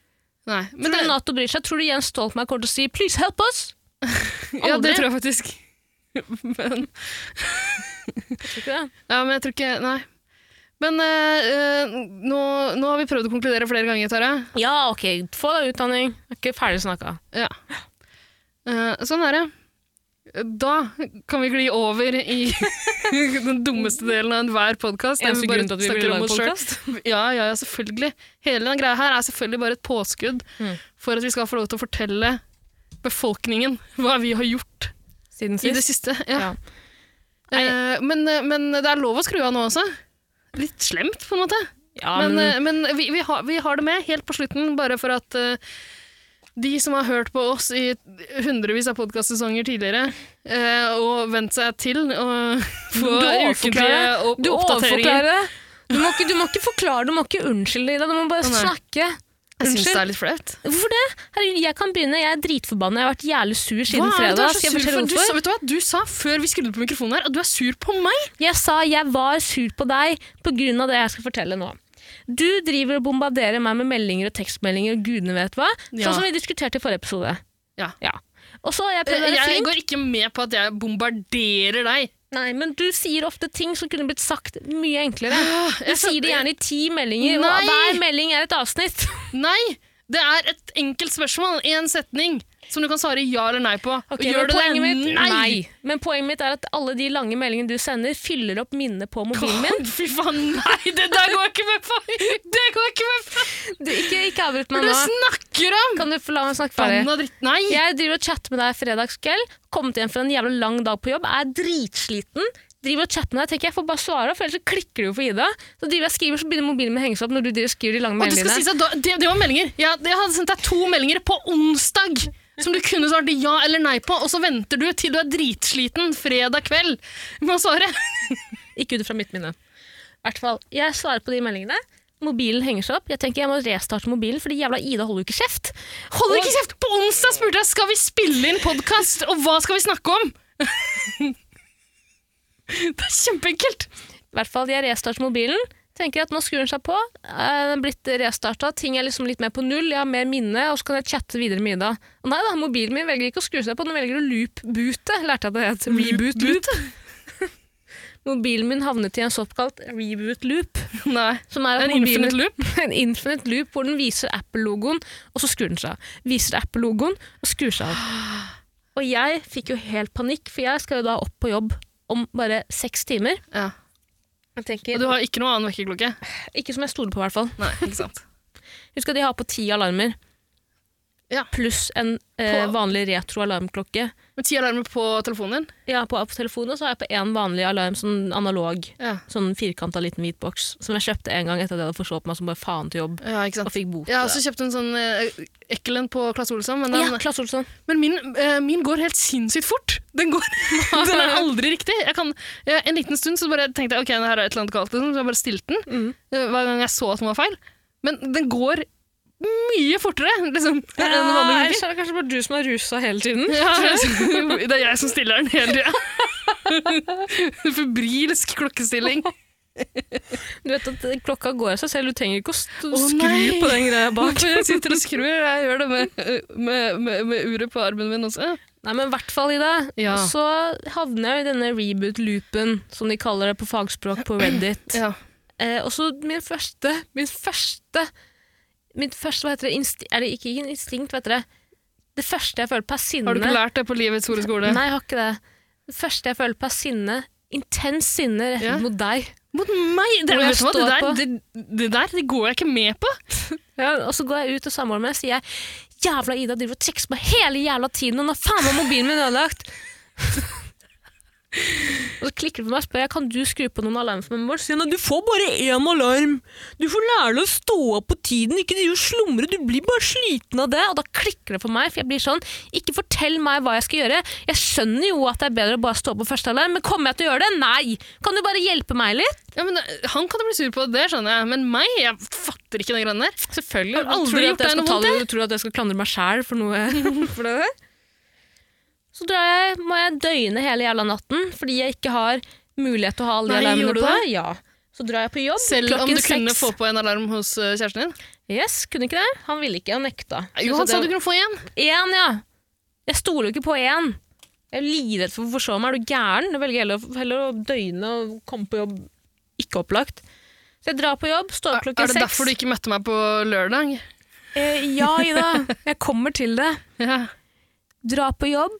[SPEAKER 1] Nei. Men
[SPEAKER 2] Tror
[SPEAKER 1] det,
[SPEAKER 2] du Nato bryr seg? Tror du Jens Stoltenberg kommer til å si 'please help us'?
[SPEAKER 1] ja,
[SPEAKER 2] Aldri.
[SPEAKER 1] det tror jeg faktisk. Men,
[SPEAKER 2] Tror du ikke det?
[SPEAKER 1] ja, men jeg tror ikke Nei. Men eh, eh, nå, nå har vi prøvd å konkludere flere ganger, Tara.
[SPEAKER 2] Ja, ok, få deg utdanning. Jeg er ikke ferdig snakka.
[SPEAKER 1] Ja. Eh, sånn er det. Da kan vi gli over i den dummeste delen av enhver podkast.
[SPEAKER 2] Eneste grunn til at vi ville lage podcast.
[SPEAKER 1] Ja, ja, ja, selvfølgelig. Hele den greia her er selvfølgelig bare et påskudd
[SPEAKER 2] Mm.
[SPEAKER 1] for at vi skal få lov til å fortelle befolkningen hva vi har gjort
[SPEAKER 2] Siden
[SPEAKER 1] i det
[SPEAKER 2] sist.
[SPEAKER 1] siste.
[SPEAKER 2] Ja.
[SPEAKER 1] Ja. Eh, men, men det er lov å skru av nå også. Litt slemt, på en måte.
[SPEAKER 2] Ja,
[SPEAKER 1] Men,
[SPEAKER 2] men,
[SPEAKER 1] eh, men vi, vi, har, vi har det med helt på slutten, bare for at eh, de som har hørt på oss i hundrevis av podkastsesonger tidligere, eh, og vent seg til å få ukentlige
[SPEAKER 2] overforklarer.
[SPEAKER 1] opp-
[SPEAKER 2] du
[SPEAKER 1] oppdateringer
[SPEAKER 2] overforklarer det. Du må, ikke, du må ikke forklare, du må ikke unnskylde Ida. Du må bare
[SPEAKER 1] Å, nei.
[SPEAKER 2] snakke.
[SPEAKER 1] Jeg syns
[SPEAKER 2] Unnskyld.
[SPEAKER 1] det er litt flaut.
[SPEAKER 2] Hvorfor det? Herregud, jeg kan begynne. Jeg er dritforbanna. Jeg har vært jævlig sur siden
[SPEAKER 1] Hva er det du
[SPEAKER 2] fredag.
[SPEAKER 1] er så
[SPEAKER 2] Skal jeg
[SPEAKER 1] sur
[SPEAKER 2] fortelle
[SPEAKER 1] for? Du, sa-
[SPEAKER 2] hvorfor?
[SPEAKER 1] vet du hva? Du sa før vi skrudde på mikrofonen her at du er sur på meg!
[SPEAKER 2] Jeg sa jeg var sur på deg på grunn av det jeg skal fortelle nå. Du driver og bombarderer meg med meldinger og tekstmeldinger og gudene vet hva.
[SPEAKER 1] Ja.
[SPEAKER 2] Sånn som vi diskuterte i forrige episode.
[SPEAKER 1] Ja.
[SPEAKER 2] Og så har jeg prøvd å
[SPEAKER 1] Eh,
[SPEAKER 2] være
[SPEAKER 1] Jeg
[SPEAKER 2] flink.
[SPEAKER 1] går ikke med på at jeg bombarderer deg.
[SPEAKER 2] Nei, men du sier ofte ting som kunne blitt sagt mye enklere. Du
[SPEAKER 1] Ah, Jeg sa-
[SPEAKER 2] sier det gjerne i ti meldinger,
[SPEAKER 1] Nei!
[SPEAKER 2] og hver melding er et avsnitt.
[SPEAKER 1] Nei! Det er et enkelt spørsmål, én setning, som du kan svare ja eller nei på.
[SPEAKER 2] Ok,
[SPEAKER 1] Gjør
[SPEAKER 2] men
[SPEAKER 1] du
[SPEAKER 2] poenget mitt,
[SPEAKER 1] det?
[SPEAKER 2] Men poenget mitt er at alle de lange meldingene du sender, fyller opp minnet på mobilen min.
[SPEAKER 1] Fy faen, nei, det der går jeg ikke med på! Det går jeg ikke med på!
[SPEAKER 2] Du, ikke, ikke avbryt
[SPEAKER 1] Hva
[SPEAKER 2] meg
[SPEAKER 1] er det
[SPEAKER 2] nå.
[SPEAKER 1] du snakker om?
[SPEAKER 2] Kan du få la meg snakke ferdig?
[SPEAKER 1] Banna dritt. Nei!
[SPEAKER 2] Jeg driver og chatter med deg fredagskveld. Kommet hjem fra en jævla lang dag på jobb. Er dritsliten. Driver og chatter med deg. Tenker jeg får bare svare, for ellers så klikker du jo for Ida. Så driver jeg og skriver, så begynner mobilen min å henge seg opp når du driver og skriver de lange
[SPEAKER 1] Og det, skal
[SPEAKER 2] meldingene.
[SPEAKER 1] sies at da, det, det var meldinger. Jeg, jeg hadde sendt deg to meldinger på onsdag som du kunne svart ja eller nei på, og så venter du til du er dritsliten fredag kveld med å svare.
[SPEAKER 2] Ikke ut fra mitt minne. I hvert fall, jeg svarer på de meldingene. Mobilen henger seg opp. Jeg tenker jeg må restarte mobilen, fordi jævla Ida holder jo ikke kjeft. Holder
[SPEAKER 1] Ikke kjeft! På onsdag spurte jeg skal vi spille inn podkast, og hva skal vi snakke om? det er kjempeenkelt!
[SPEAKER 2] I hvert fall jeg restarter mobilen. Tenker at nå skrur den seg på. Eh, Den er blitt restarta. Ting er liksom litt mer på null. Jeg har mer minne, og så kan jeg chatte videre med Ida. Og Nei da, mobilen min velger ikke å skru seg på. Den velger å loop-boote. Lærte jeg det het. Reboot loop. Mobilen min havnet i en såkalt reboot loop.
[SPEAKER 1] Nei.
[SPEAKER 2] Som er at
[SPEAKER 1] En
[SPEAKER 2] mobilen-
[SPEAKER 1] infinite loop?
[SPEAKER 2] en infinite loop hvor den viser Apple-logoen, og så skrur den seg av. Viser Apple-logoen, og skrur seg av. Og jeg fikk jo helt panikk, for jeg skal jo da opp på jobb om bare seks timer.
[SPEAKER 1] Ja.
[SPEAKER 2] Jeg tenker,
[SPEAKER 1] Og du har ikke noe annen vekkerklokke?
[SPEAKER 2] Ikke som jeg stoler på, i hvert fall.
[SPEAKER 1] Nei, ikke sant.
[SPEAKER 2] Husk at de har på ti alarmer.
[SPEAKER 1] Ja.
[SPEAKER 2] Pluss en eh,
[SPEAKER 1] På-
[SPEAKER 2] vanlig retro-alarmklokke.
[SPEAKER 1] Med ti alarmer på telefonen din?
[SPEAKER 2] Ja, på, på telefonen og så har jeg på én vanlig alarm, sånn analog.
[SPEAKER 1] Ja.
[SPEAKER 2] Sånn firkanta liten hvit boks, som jeg kjøpte en gang etter at jeg hadde forsått meg som bare faen til jobb.
[SPEAKER 1] ja, ikke
[SPEAKER 2] Og
[SPEAKER 1] sant.
[SPEAKER 2] fikk bot.
[SPEAKER 1] Jeg har også kjøpt en sånn eh, ekkel en på Claes Olsson, men, den,
[SPEAKER 2] ja, Klasse Olsson.
[SPEAKER 1] men min, eh, min går helt sinnssykt fort. Den, går, den er aldri riktig. Jeg kan, eh, en liten stund så bare tenkte jeg ok, det her er et eller annet galt, liksom, så jeg bare stilte den.
[SPEAKER 2] Mm.
[SPEAKER 1] eh, hver gang jeg så at den var feil. Men den går mye fortere liksom, enn vanlige klokker.
[SPEAKER 2] ellers er eh, det kanskje bare du som er rusa hele tiden.
[SPEAKER 1] Ja, det er jeg som stiller den hele tida. Febrilsk klokkestilling.
[SPEAKER 2] Du vet at eh, klokka går av seg selv, du trenger ikke å st-
[SPEAKER 1] Å,
[SPEAKER 2] skru
[SPEAKER 1] nei.
[SPEAKER 2] på den greia bak.
[SPEAKER 1] Jeg sitter og skrur. Jeg gjør det med, med, med, med uret på armen min også.
[SPEAKER 2] Nei, men i hvert fall, Ida,
[SPEAKER 1] Ja.
[SPEAKER 2] så havner jeg i denne reboot-loopen, som de kaller det på fagspråk på Reddit.
[SPEAKER 1] Ja.
[SPEAKER 2] eh, og så min første, min første, min første, hva heter det, insti er det ikke en instinkt, hva heter det? Det første jeg føler på er sinne.
[SPEAKER 1] Har du ikke lært det på livets store skole?
[SPEAKER 2] Nei, jeg har ikke det. Det første jeg føler på er sinne, intens sinne rettet
[SPEAKER 1] Ja.
[SPEAKER 2] mot deg.
[SPEAKER 1] Mot meg! Det,
[SPEAKER 2] Hvor jeg
[SPEAKER 1] vet du hva, det,
[SPEAKER 2] står
[SPEAKER 1] der, det, det der det går jeg ikke med på.
[SPEAKER 2] Ja, og så går jeg ut og samboeren min og sier jeg, Jævla Ida driver og trikser på hele jævla tiden, og nå faen var mobilen min ødelagt! og så klikker du på meg og spør jeg, kan du skru på noen alarmer for meg. Bård? Så sier han du får bare én alarm! Du får lære deg å stå opp på tiden, ikke drive og slumre, du blir bare sliten av det. Og da klikker det for meg, for jeg blir sånn, ikke fortell meg hva jeg skal gjøre. Jeg skjønner jo at det er bedre å bare stå opp på første alarm, men kommer jeg til å gjøre det? Nei! Kan du bare hjelpe meg litt?
[SPEAKER 1] Ja, men eh, Han kan du bli sur på, det skjønner jeg, men meg? Jeg fatter ikke den greia der.
[SPEAKER 2] Selvfølgelig.
[SPEAKER 1] Har du aldri gjort deg noe vondt,
[SPEAKER 2] Tror du at jeg skal klandre meg sjæl for noe for det der? Så drar jeg, må jeg døgne hele jævla natten fordi jeg ikke har mulighet til å ha alle de
[SPEAKER 1] Nei,
[SPEAKER 2] alarmene
[SPEAKER 1] gjorde du
[SPEAKER 2] på.
[SPEAKER 1] det?
[SPEAKER 2] Ja. Så drar jeg på jobb
[SPEAKER 1] Selv om
[SPEAKER 2] klokken
[SPEAKER 1] du kunne
[SPEAKER 2] seks.
[SPEAKER 1] få på en alarm hos eh, kjæresten din?
[SPEAKER 2] Yes, kunne ikke det? Han ville ikke, han nekta.
[SPEAKER 1] Jo, han
[SPEAKER 2] Så
[SPEAKER 1] sa du
[SPEAKER 2] det-
[SPEAKER 1] kunne få en.
[SPEAKER 2] Én, ja! Jeg stoler jo ikke på én. Jeg er livredd for å forsove meg. Er du gæren? Jeg velger heller, å- heller å døgne og komme på jobb ikke opplagt. Så jeg drar på jobb, står opp
[SPEAKER 1] Er
[SPEAKER 2] klokken
[SPEAKER 1] det
[SPEAKER 2] seks.
[SPEAKER 1] derfor du ikke møtte meg på lørdag?
[SPEAKER 2] eh, Ja, Ida. Jeg kommer til det.
[SPEAKER 1] Ja.
[SPEAKER 2] dra på jobb,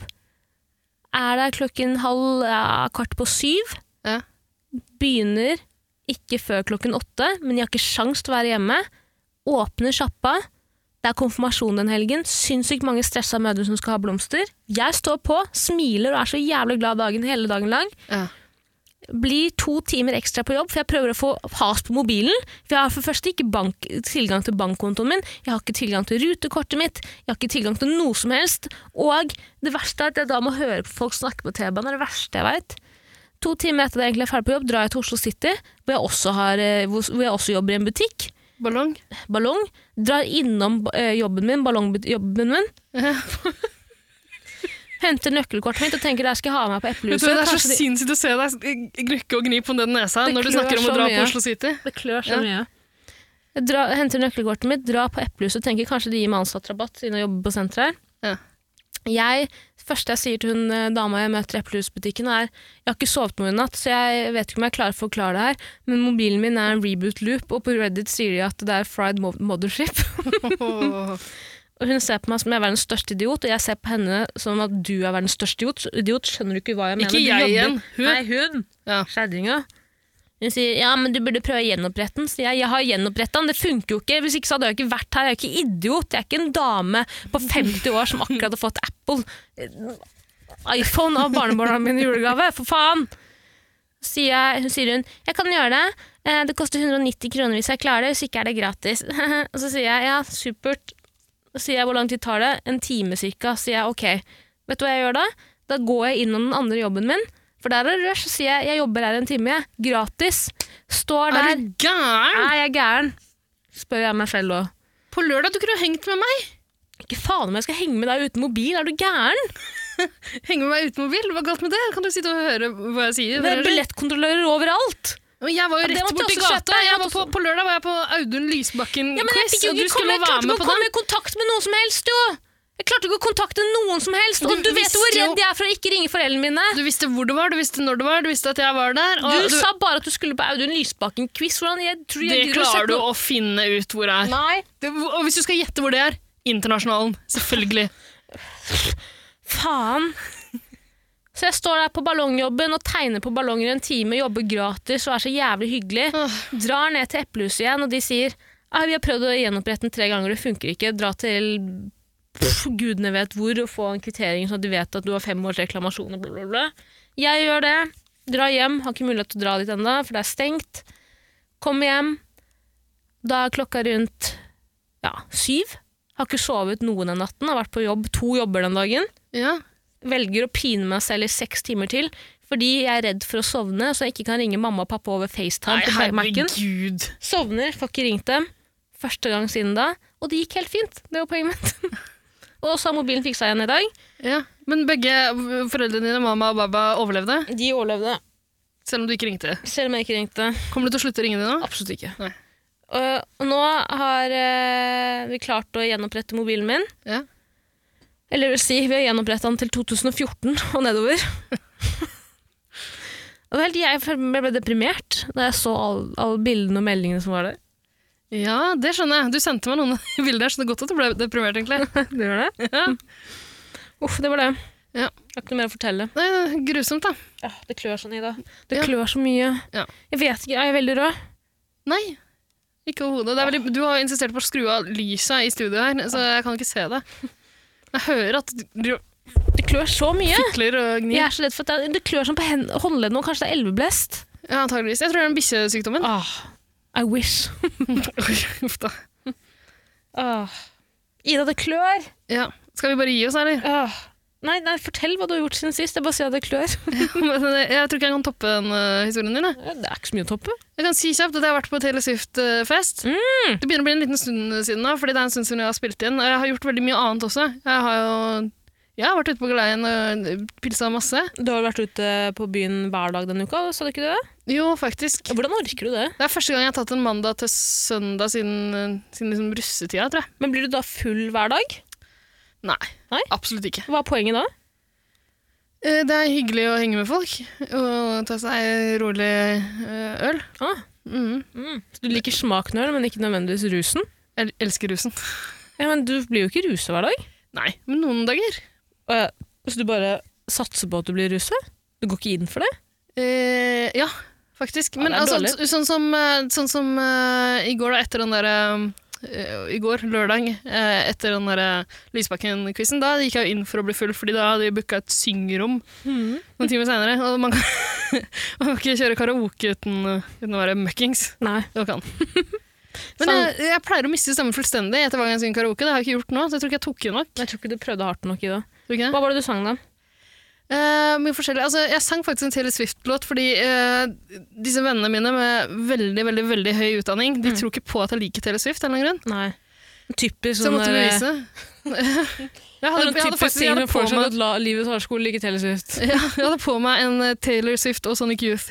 [SPEAKER 2] er der klokken halv ja, kvart på syv,
[SPEAKER 1] Ja.
[SPEAKER 2] begynner ikke før klokken åtte, men jeg har ikke sjans til å være hjemme, åpner sjappa, det er konfirmasjon den helgen, sinnssykt mange stressa mødre som skal ha blomster. Jeg står på, smiler og er så jævlig glad dagen hele dagen lang.
[SPEAKER 1] Ja.
[SPEAKER 2] Blir to timer ekstra på jobb, for jeg prøver å få has på mobilen. For jeg har for det første ikke bank, tilgang til bankkontoen min, jeg har ikke tilgang til rutekortet mitt, jeg har ikke tilgang til noe som helst. Og det verste er at jeg da må høre på folk snakke på T-banen, det er det verste jeg veit. To timer etter at jeg egentlig er ferdig på jobb, drar jeg til Oslo City, hvor jeg også, har, eh, hvor hvor jeg også jobber i en butikk.
[SPEAKER 1] Ballong?
[SPEAKER 2] Ballong. Drar innom eh, jobben min, ballongjobben min. Henter nøkkelkortet mitt og tenker der skal jeg ha med meg på
[SPEAKER 1] Vet du,
[SPEAKER 2] eplehuset.
[SPEAKER 1] hva, det er så
[SPEAKER 2] Kanskje de-
[SPEAKER 1] sinnssykt å se deg gnukke og gni på den nesa
[SPEAKER 2] Det
[SPEAKER 1] når du
[SPEAKER 2] klør
[SPEAKER 1] snakker om å
[SPEAKER 2] så
[SPEAKER 1] dra
[SPEAKER 2] mye.
[SPEAKER 1] på Oslo City.
[SPEAKER 2] Det klør
[SPEAKER 1] Ja.
[SPEAKER 2] så mye. Jeg drar, henter nøkkelkortet mitt, drar på Eplehuset og tenker kanskje de gir meg ansatt rabatt siden jeg jobber på senteret.
[SPEAKER 1] Ja.
[SPEAKER 2] Jeg, det første jeg sier til hun eh, dama jeg møter i Eplehusbutikken, er Jeg har ikke sovet noe i natt, så jeg vet ikke om jeg klarer å forklare det her, men mobilen min er en reboot-loop, og på Reddit sier de at det er fried mo- mothership. Og hun ser på meg som jeg er verdens største idiot, og jeg ser på henne som at du er verdens største idiot. Så Idiot, skjønner du ikke hva jeg mener?
[SPEAKER 1] Ikke
[SPEAKER 2] Du
[SPEAKER 1] jeg
[SPEAKER 2] jobber-
[SPEAKER 1] igjen. Hun.
[SPEAKER 2] Nei, hun.
[SPEAKER 1] Ja.
[SPEAKER 2] Skjæringa. Hun sier ja, men du burde prøve å gjenopprette den. Sier jeg jeg har gjenoppretta den, det funker jo ikke. Hvis ikke så hadde jeg ikke vært her. Jeg er jo ikke idiot. Jeg er ikke en dame på 50 år som akkurat har fått Apple iPhone av barnebarna mine i julegave. For faen! Sier jeg, sier hun jeg kan gjøre det. Eh, Det koster 190 kroner hvis jeg klarer det, hvis ikke er det gratis. Og så sier jeg ja, supert. Så sier jeg hvor lang tid tar det? En time cirka. Så sier jeg ok, vet du hva jeg gjør da? Da går jeg innom den andre jobben min, for der er det rush. Så sier jeg jeg jobber her en time, jeg. Gratis. Står
[SPEAKER 1] Er
[SPEAKER 2] der.
[SPEAKER 1] du gæren?
[SPEAKER 2] Er jeg gæren? spør jeg meg selv òg.
[SPEAKER 1] På lørdag du kunne jo hengt med meg!
[SPEAKER 2] Ikke faen om jeg skal henge med deg uten mobil, er du gæren?
[SPEAKER 1] Henge med meg uten mobil, hva er galt med det? Kan du sitte og høre hva jeg sier?
[SPEAKER 2] Det er billettkontrollører overalt!
[SPEAKER 1] Men jeg var jo
[SPEAKER 2] Ja, det
[SPEAKER 1] rett
[SPEAKER 2] måtte
[SPEAKER 1] borti
[SPEAKER 2] jeg også
[SPEAKER 1] gata.
[SPEAKER 2] kjøpe. Jeg
[SPEAKER 1] Jeg var
[SPEAKER 2] måtte
[SPEAKER 1] på, på lørdag var jeg på Audun
[SPEAKER 2] Ja, men jeg
[SPEAKER 1] Lysbakken-quiz,
[SPEAKER 2] fikk jo
[SPEAKER 1] og du
[SPEAKER 2] ikke komme,
[SPEAKER 1] skulle
[SPEAKER 2] jeg klarte
[SPEAKER 1] være
[SPEAKER 2] ikke
[SPEAKER 1] med
[SPEAKER 2] å
[SPEAKER 1] på
[SPEAKER 2] komme
[SPEAKER 1] den.
[SPEAKER 2] i kontakt med noen som helst, jo! Jeg klarte ikke å kontakte noen som helst, og
[SPEAKER 1] Du
[SPEAKER 2] du, vet jo hvor
[SPEAKER 1] visste jo-
[SPEAKER 2] redd jeg er for å ikke ringe foreldrene mine!
[SPEAKER 1] Du visste hvor det var, du visste når det var, du visste at jeg var
[SPEAKER 2] Du,
[SPEAKER 1] der. Og du,
[SPEAKER 2] sa bare at du skulle på Audun Lysbakken-quiz. Hvordan jeg tror jeg
[SPEAKER 1] det
[SPEAKER 2] gidder å sette
[SPEAKER 1] klarer du
[SPEAKER 2] noe-
[SPEAKER 1] å finne ut hvor det er.
[SPEAKER 2] Nei,
[SPEAKER 1] Det, og hvis du skal gjette hvor det er, Internasjonalen. Selvfølgelig.
[SPEAKER 2] faen! Så jeg står der på ballongjobben og tegner på ballonger i en time, jobber gratis og er så jævlig hyggelig. Drar ned til Eplehuset igjen, og de sier «Nei, vi har prøvd å gjenopprette den tre ganger, det funker ikke. Dra til pff, gudene vet hvor og få en kvittering sånn at de vet at du har fem års reklamasjon. og Bla, bla, bla. Jeg gjør det. Drar hjem. Har ikke mulighet til å dra dit ennå, for det er stengt. Kommer hjem. Da er klokka rundt ja, syv. Har ikke sovet noen den natten. Har vært på jobb to jobber den dagen
[SPEAKER 1] Ja.
[SPEAKER 2] velger å pine meg selv i seks timer til fordi jeg er redd for å sovne, så jeg ikke kan ringe mamma og pappa over FaceTime på Mac-en.
[SPEAKER 1] herregud.
[SPEAKER 2] Sovner, får ikke ringt dem. Første gang siden da. Og det gikk helt fint. Det var poenget mitt. og så har mobilen fiksa igjen i dag.
[SPEAKER 1] Ja. Men begge foreldrene dine, mamma og baba, overlevde,
[SPEAKER 2] De overlevde,
[SPEAKER 1] selv om du ikke ringte.
[SPEAKER 2] selv om jeg ikke ringte.
[SPEAKER 1] Kommer du til å slutte å ringe dem nå?
[SPEAKER 2] Absolutt ikke.
[SPEAKER 1] Nei.
[SPEAKER 2] Og, og nå har eh, vi klart å gjenopprette mobilen min.
[SPEAKER 1] Ja.
[SPEAKER 2] Eller det vil si, vi har gjenoppretta den til 2014 og nedover. og vel, jeg ble ble deprimert da jeg så alle all bildene og meldingene som var der.
[SPEAKER 1] Ja, det skjønner jeg. Du sendte meg noen bilder, her, så det er godt at du ble deprimert, egentlig.
[SPEAKER 2] Det var det?
[SPEAKER 1] Ja.
[SPEAKER 2] Uff, det var det.
[SPEAKER 1] Ja.
[SPEAKER 2] Jeg har ikke noe mer å fortelle.
[SPEAKER 1] Nei, det er grusomt, da.
[SPEAKER 2] Åh, det klør sånn, Ida. Det
[SPEAKER 1] Ja.
[SPEAKER 2] klør så mye.
[SPEAKER 1] Ja.
[SPEAKER 2] Jeg vet ikke, er jeg veldig rød?
[SPEAKER 1] Nei. Ikke overhodet. Det er veldig- Du har insistert på å skru av lyset i studio her, så jeg kan ikke se det. Jeg hører at du driver og
[SPEAKER 2] Det klør så mye!
[SPEAKER 1] fikler og gnir.
[SPEAKER 2] Jeg er så redd for at det, det klør sånn på hen- håndleddene, og kanskje det er elveblest.
[SPEAKER 1] Ja, antageligvis. Jeg tror det er den bikkjesykdommen.
[SPEAKER 2] I wish.
[SPEAKER 1] Ah. Oi, Uff da. Ah.
[SPEAKER 2] Ida, det klør!
[SPEAKER 1] Ja. Skal vi bare gi oss, eller?
[SPEAKER 2] Åh. Nei, nei, fortell hva du har gjort siden sist. Jeg bare sier at det klør.
[SPEAKER 1] Men eh, jeg tror ikke jeg kan toppe den eh, historien din. jeg.
[SPEAKER 2] Det er ikke så mye å toppe.
[SPEAKER 1] Jeg kan si kjapt at jeg har vært på Taylor Swift-fest. Det begynner å bli en liten stund siden nå, fordi det er en stund siden jeg har spilt inn. Og jeg har gjort veldig mye annet også. Jeg har jo jeg har vært ute på galeien og pilsa masse.
[SPEAKER 2] Du har vært ute på byen hver dag denne uka, sa du ikke det?
[SPEAKER 1] Jo, faktisk.
[SPEAKER 2] Hvordan orker du det?
[SPEAKER 1] Det er første gang jeg har tatt en mandag til søndag siden, siden liksom russetida, tror jeg.
[SPEAKER 2] Men blir du da full hver dag?
[SPEAKER 1] Nei,
[SPEAKER 2] Nei?
[SPEAKER 1] absolutt ikke.
[SPEAKER 2] Hva er poenget da?
[SPEAKER 1] Eh, Det er hyggelig å henge med folk og ta seg rolig eh, øl.
[SPEAKER 2] Ah.
[SPEAKER 1] Mm.
[SPEAKER 2] Så du liker smaken av øl, men ikke nødvendigvis rusen?
[SPEAKER 1] Jeg elsker rusen.
[SPEAKER 2] Ja, men du blir jo ikke rusa hver dag.
[SPEAKER 1] Nei, men noen dager.
[SPEAKER 2] Eh, Så du bare satser på at du blir rusa? Du går ikke inn for det?
[SPEAKER 1] Eh, ja, faktisk.
[SPEAKER 2] Ja,
[SPEAKER 1] Men
[SPEAKER 2] det er
[SPEAKER 1] altså,
[SPEAKER 2] dårlig.
[SPEAKER 1] så- sånn som, eh, sånn som eh, i går, da, etter den derre I går, lørdag, eh, etter den der Lysbakken-quizen, da gikk jeg jo inn for å bli full, fordi da hadde de booka et syngerom
[SPEAKER 2] Mhm.
[SPEAKER 1] noen timer seinere. Og man kan, man kan ikke kjøre karaoke uten, uten å være møkkings.
[SPEAKER 2] Nei.
[SPEAKER 1] Det kan. Men
[SPEAKER 2] Sånn.
[SPEAKER 1] jeg, jeg pleier å miste stemmen fullstendig etter hver gang jeg synger karaoke. Det har jeg ikke gjort nå, så jeg tror ikke jeg tok i nok.
[SPEAKER 2] Jeg tror ikke du prøvde hardt nok i det.
[SPEAKER 1] Tror ikke jeg.
[SPEAKER 2] Hva var det du sang da?
[SPEAKER 1] Eh, mye forskjellig. Altså, jeg sang faktisk en Taylor Swift-låt fordi eh, disse vennene mine med veldig veldig, veldig høy utdanning
[SPEAKER 2] Mm.
[SPEAKER 1] de tror ikke på at jeg liker Taylor Swift. av en eller annen grunn.
[SPEAKER 2] Nei. Typisk
[SPEAKER 1] Så jeg
[SPEAKER 2] sånn der-
[SPEAKER 1] måtte bevise. jeg, hadde, jeg, hadde
[SPEAKER 2] typisk
[SPEAKER 1] faktisk, jeg,
[SPEAKER 2] ting
[SPEAKER 1] hadde
[SPEAKER 2] med
[SPEAKER 1] på
[SPEAKER 2] folk som
[SPEAKER 1] meg,
[SPEAKER 2] at la- livets hardskole ligger til sist.
[SPEAKER 1] ja, jeg hadde på meg en eh, Taylor Swift og Sonic Youth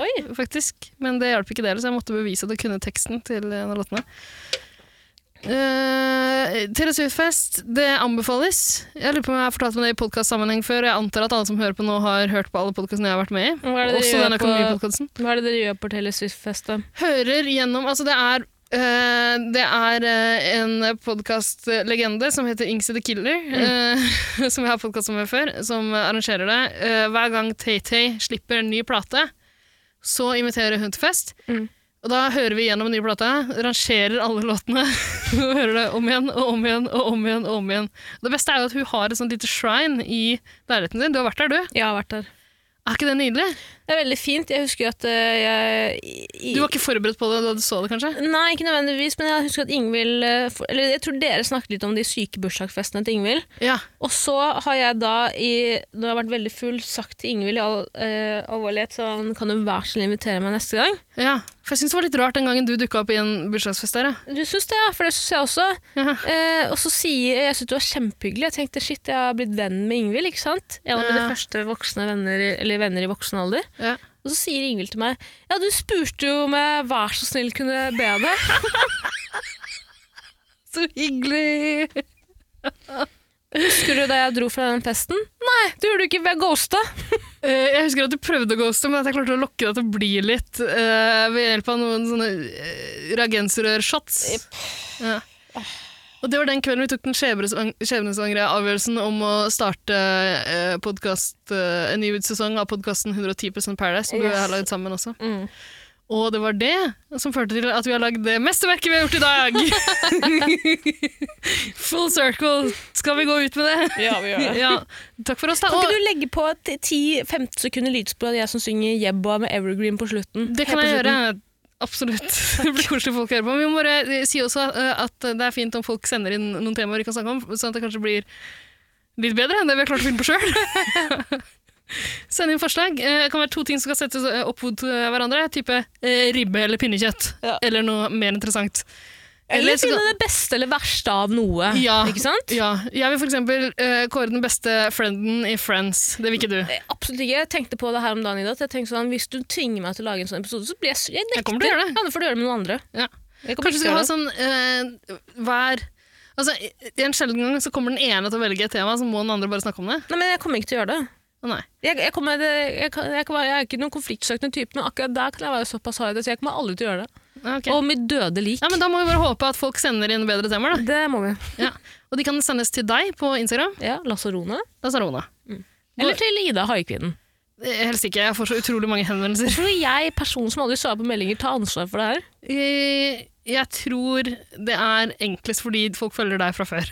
[SPEAKER 2] Oi.
[SPEAKER 1] faktisk. Men det hjalp ikke det, så jeg måtte bevise at jeg kunne teksten til en av låtene. Eh, Taylor Swift-fest, det anbefales. Jeg lurer på om jeg har fortalt om det i podkastsammenheng før. og Jeg antar at alle som hører på nå, har hørt på alle podkastene jeg har vært med i.
[SPEAKER 2] Hva er det dere
[SPEAKER 1] Også
[SPEAKER 2] gjør
[SPEAKER 1] den
[SPEAKER 2] på-
[SPEAKER 1] økonomipodkasten.
[SPEAKER 2] Hva er det dere gjør på Taylor Swift-fest da?
[SPEAKER 1] Hører gjennom Altså, det er eh, det er eh, en podkastlegende som heter Ingsy the Killer,
[SPEAKER 2] Mm.
[SPEAKER 1] eh, som jeg har podkast med før, som arrangerer det. Eh, hver gang Tay-Tay slipper en ny plate, så inviterer hun til fest.
[SPEAKER 2] Mm.
[SPEAKER 1] Og da hører vi gjennom den nye plata, rangerer alle låtene og hører det om igjen og om igjen og om igjen. og om igjen. Det beste er jo at hun har et sånt lite shrine i leiligheten sin. Du har vært der, du.
[SPEAKER 2] Jeg har vært der.
[SPEAKER 1] Er ikke det nydelig?
[SPEAKER 2] Det er veldig fint. Jeg husker jo at eh, jeg i-
[SPEAKER 1] Du var ikke forberedt på det da du så det, kanskje?
[SPEAKER 2] Nei, ikke nødvendigvis, men jeg husker at Ingvild eh, for- Eller jeg tror dere snakket litt om de syke bursdagsfestene til Ingvild.
[SPEAKER 1] Ja.
[SPEAKER 2] Og så har jeg da, i, når jeg har vært veldig full, sagt til Ingvild i all eh, alvorlighet så han kan jo vær så snill invitere meg neste gang.
[SPEAKER 1] ja. For jeg syns det var litt rart den gangen du dukka opp i en bursdagsfest der.
[SPEAKER 2] Du syns det, ja, for det syns jeg også.
[SPEAKER 1] Ja.
[SPEAKER 2] Eh, og så sier jeg syns du er kjempehyggelig. Jeg tenkte shit, jeg har blitt venn med Ingvild, ikke sant? En av mine
[SPEAKER 1] Ja.
[SPEAKER 2] første voksne venner, i- eller venner i voksen alder.
[SPEAKER 1] Ja.
[SPEAKER 2] Og så sier Ingvild til meg Ja, du spurte jo om jeg vær så snill kunne be deg.
[SPEAKER 1] Så hyggelig!
[SPEAKER 2] Husker du da jeg dro fra den festen? Nei, du gjorde du ikke, jeg ghosta.
[SPEAKER 1] Eh, Jeg husker at du prøvde å ghoste, men at jeg klarte å lokke deg til å bli litt eh, ved hjelp av noen sånne eh, reagensrørshots. Ja. Og det var den kvelden vi tok den skjebnesvang- skjebnesvangre avgjørelsen om å starte eh, podcast, eh, en ny sesong av podkasten 110 Paradise, som du
[SPEAKER 2] Yes.
[SPEAKER 1] har lagd sammen også.
[SPEAKER 2] Mm.
[SPEAKER 1] Og det var det som førte til at vi har lagd det mesterverket vi har gjort i dag! Full circle! Skal vi gå ut med det?
[SPEAKER 2] Ja, vi gjør
[SPEAKER 1] Ja. Takk for oss, da.
[SPEAKER 2] Kan
[SPEAKER 1] Og-
[SPEAKER 2] ikke du legge på et 10-15 sekunder lydspor av jeg som synger Jebba med Evergreen på slutten?
[SPEAKER 1] Det kan jeg gjøre. Absolutt. Det blir koselig folk hører på. Men Vi må bare eh, si også eh, at det er fint om folk sender inn noen temaer vi kan snakke om, sånn at det kanskje blir litt bedre enn det vi har klart å finne på sjøl. Send inn forslag. Eh, Det kan være to ting som kan settes eh, opp mot eh, hverandre. Type eh, ribbe eller pinnekjøtt.
[SPEAKER 2] Ja.
[SPEAKER 1] Eller noe mer interessant.
[SPEAKER 2] Eller
[SPEAKER 1] Eller så
[SPEAKER 2] finne
[SPEAKER 1] kan-
[SPEAKER 2] det beste eller verste av noe.
[SPEAKER 1] Ja.
[SPEAKER 2] Ikke sant?
[SPEAKER 1] Ja, jeg vil for eksempel eh, kåre den beste frienden i Friends. Det vil ikke du.
[SPEAKER 2] Eh, Absolutt ikke. Jeg tenkte på det her om dagen i dag. at Jeg tenkte sånn, Hvis du tvinger meg til å lage en sånn episode, så blir jeg, s- jeg nekter.
[SPEAKER 1] Jeg kommer til å gjøre det.
[SPEAKER 2] Ja, da får du gjøre det med noen andre.
[SPEAKER 1] Ja.
[SPEAKER 2] Jeg kommer
[SPEAKER 1] Kanskje vi
[SPEAKER 2] ikke til å
[SPEAKER 1] skal ha
[SPEAKER 2] gjøre det.
[SPEAKER 1] sånn eh, hver Altså, i- i En sjelden gang så kommer den ene til å velge et tema, så må den andre bare snakke om det.
[SPEAKER 2] Nei, men jeg kommer ikke til å gjøre det.
[SPEAKER 1] Å nei.
[SPEAKER 2] Jeg, jeg, kommer, det, jeg, kan, jeg, kan, være- jeg er ikke noen konfliktsøkende type, men akkurat der kan jeg være såpass hard, så jeg kommer aldri til å gjøre det.
[SPEAKER 1] Ja, ok.
[SPEAKER 2] Og mitt døde lik.
[SPEAKER 1] ja, men Da må vi bare håpe at folk sender inn bedre temaer.
[SPEAKER 2] Det må vi.
[SPEAKER 1] da. Ja. Og de kan sendes til deg på Instagram.
[SPEAKER 2] Ja, Lasse Rone.
[SPEAKER 1] Da sa Rona.
[SPEAKER 2] Eller til Ida Haikvinnen.
[SPEAKER 1] Eh, Helst ikke. Jeg får så utrolig mange henvendelser.
[SPEAKER 2] Tror jeg, personen som aldri svarer på meldinger, tar ansvar for det her?
[SPEAKER 1] Eh, Jeg tror det er enklest fordi folk følger deg fra før.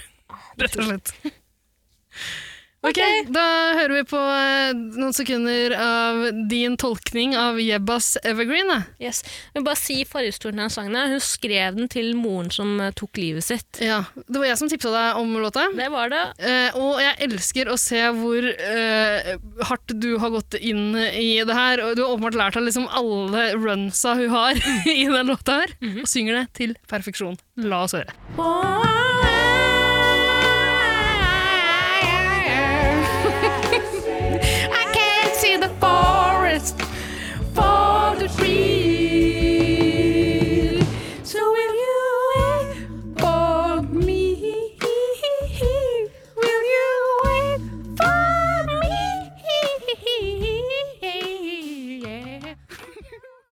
[SPEAKER 1] Rett og slett. Ah, Ok, Da hører vi på eh, noen sekunder av din tolkning av Jebbas Evergreen. Da.
[SPEAKER 2] Yes. Jeg vil bare si forhistorien til den sangen. her. Hun skrev den til moren som eh, tok livet sitt.
[SPEAKER 1] Ja, Det var jeg som tipsa deg om låta.
[SPEAKER 2] Det var det.
[SPEAKER 1] Eh, og jeg elsker å se hvor eh, hardt du har gått inn i det her. Og du har åpenbart lært deg liksom alle runsa hun har i den låta her. Og synger det til perfeksjon. La oss høre.
[SPEAKER 2] Wow.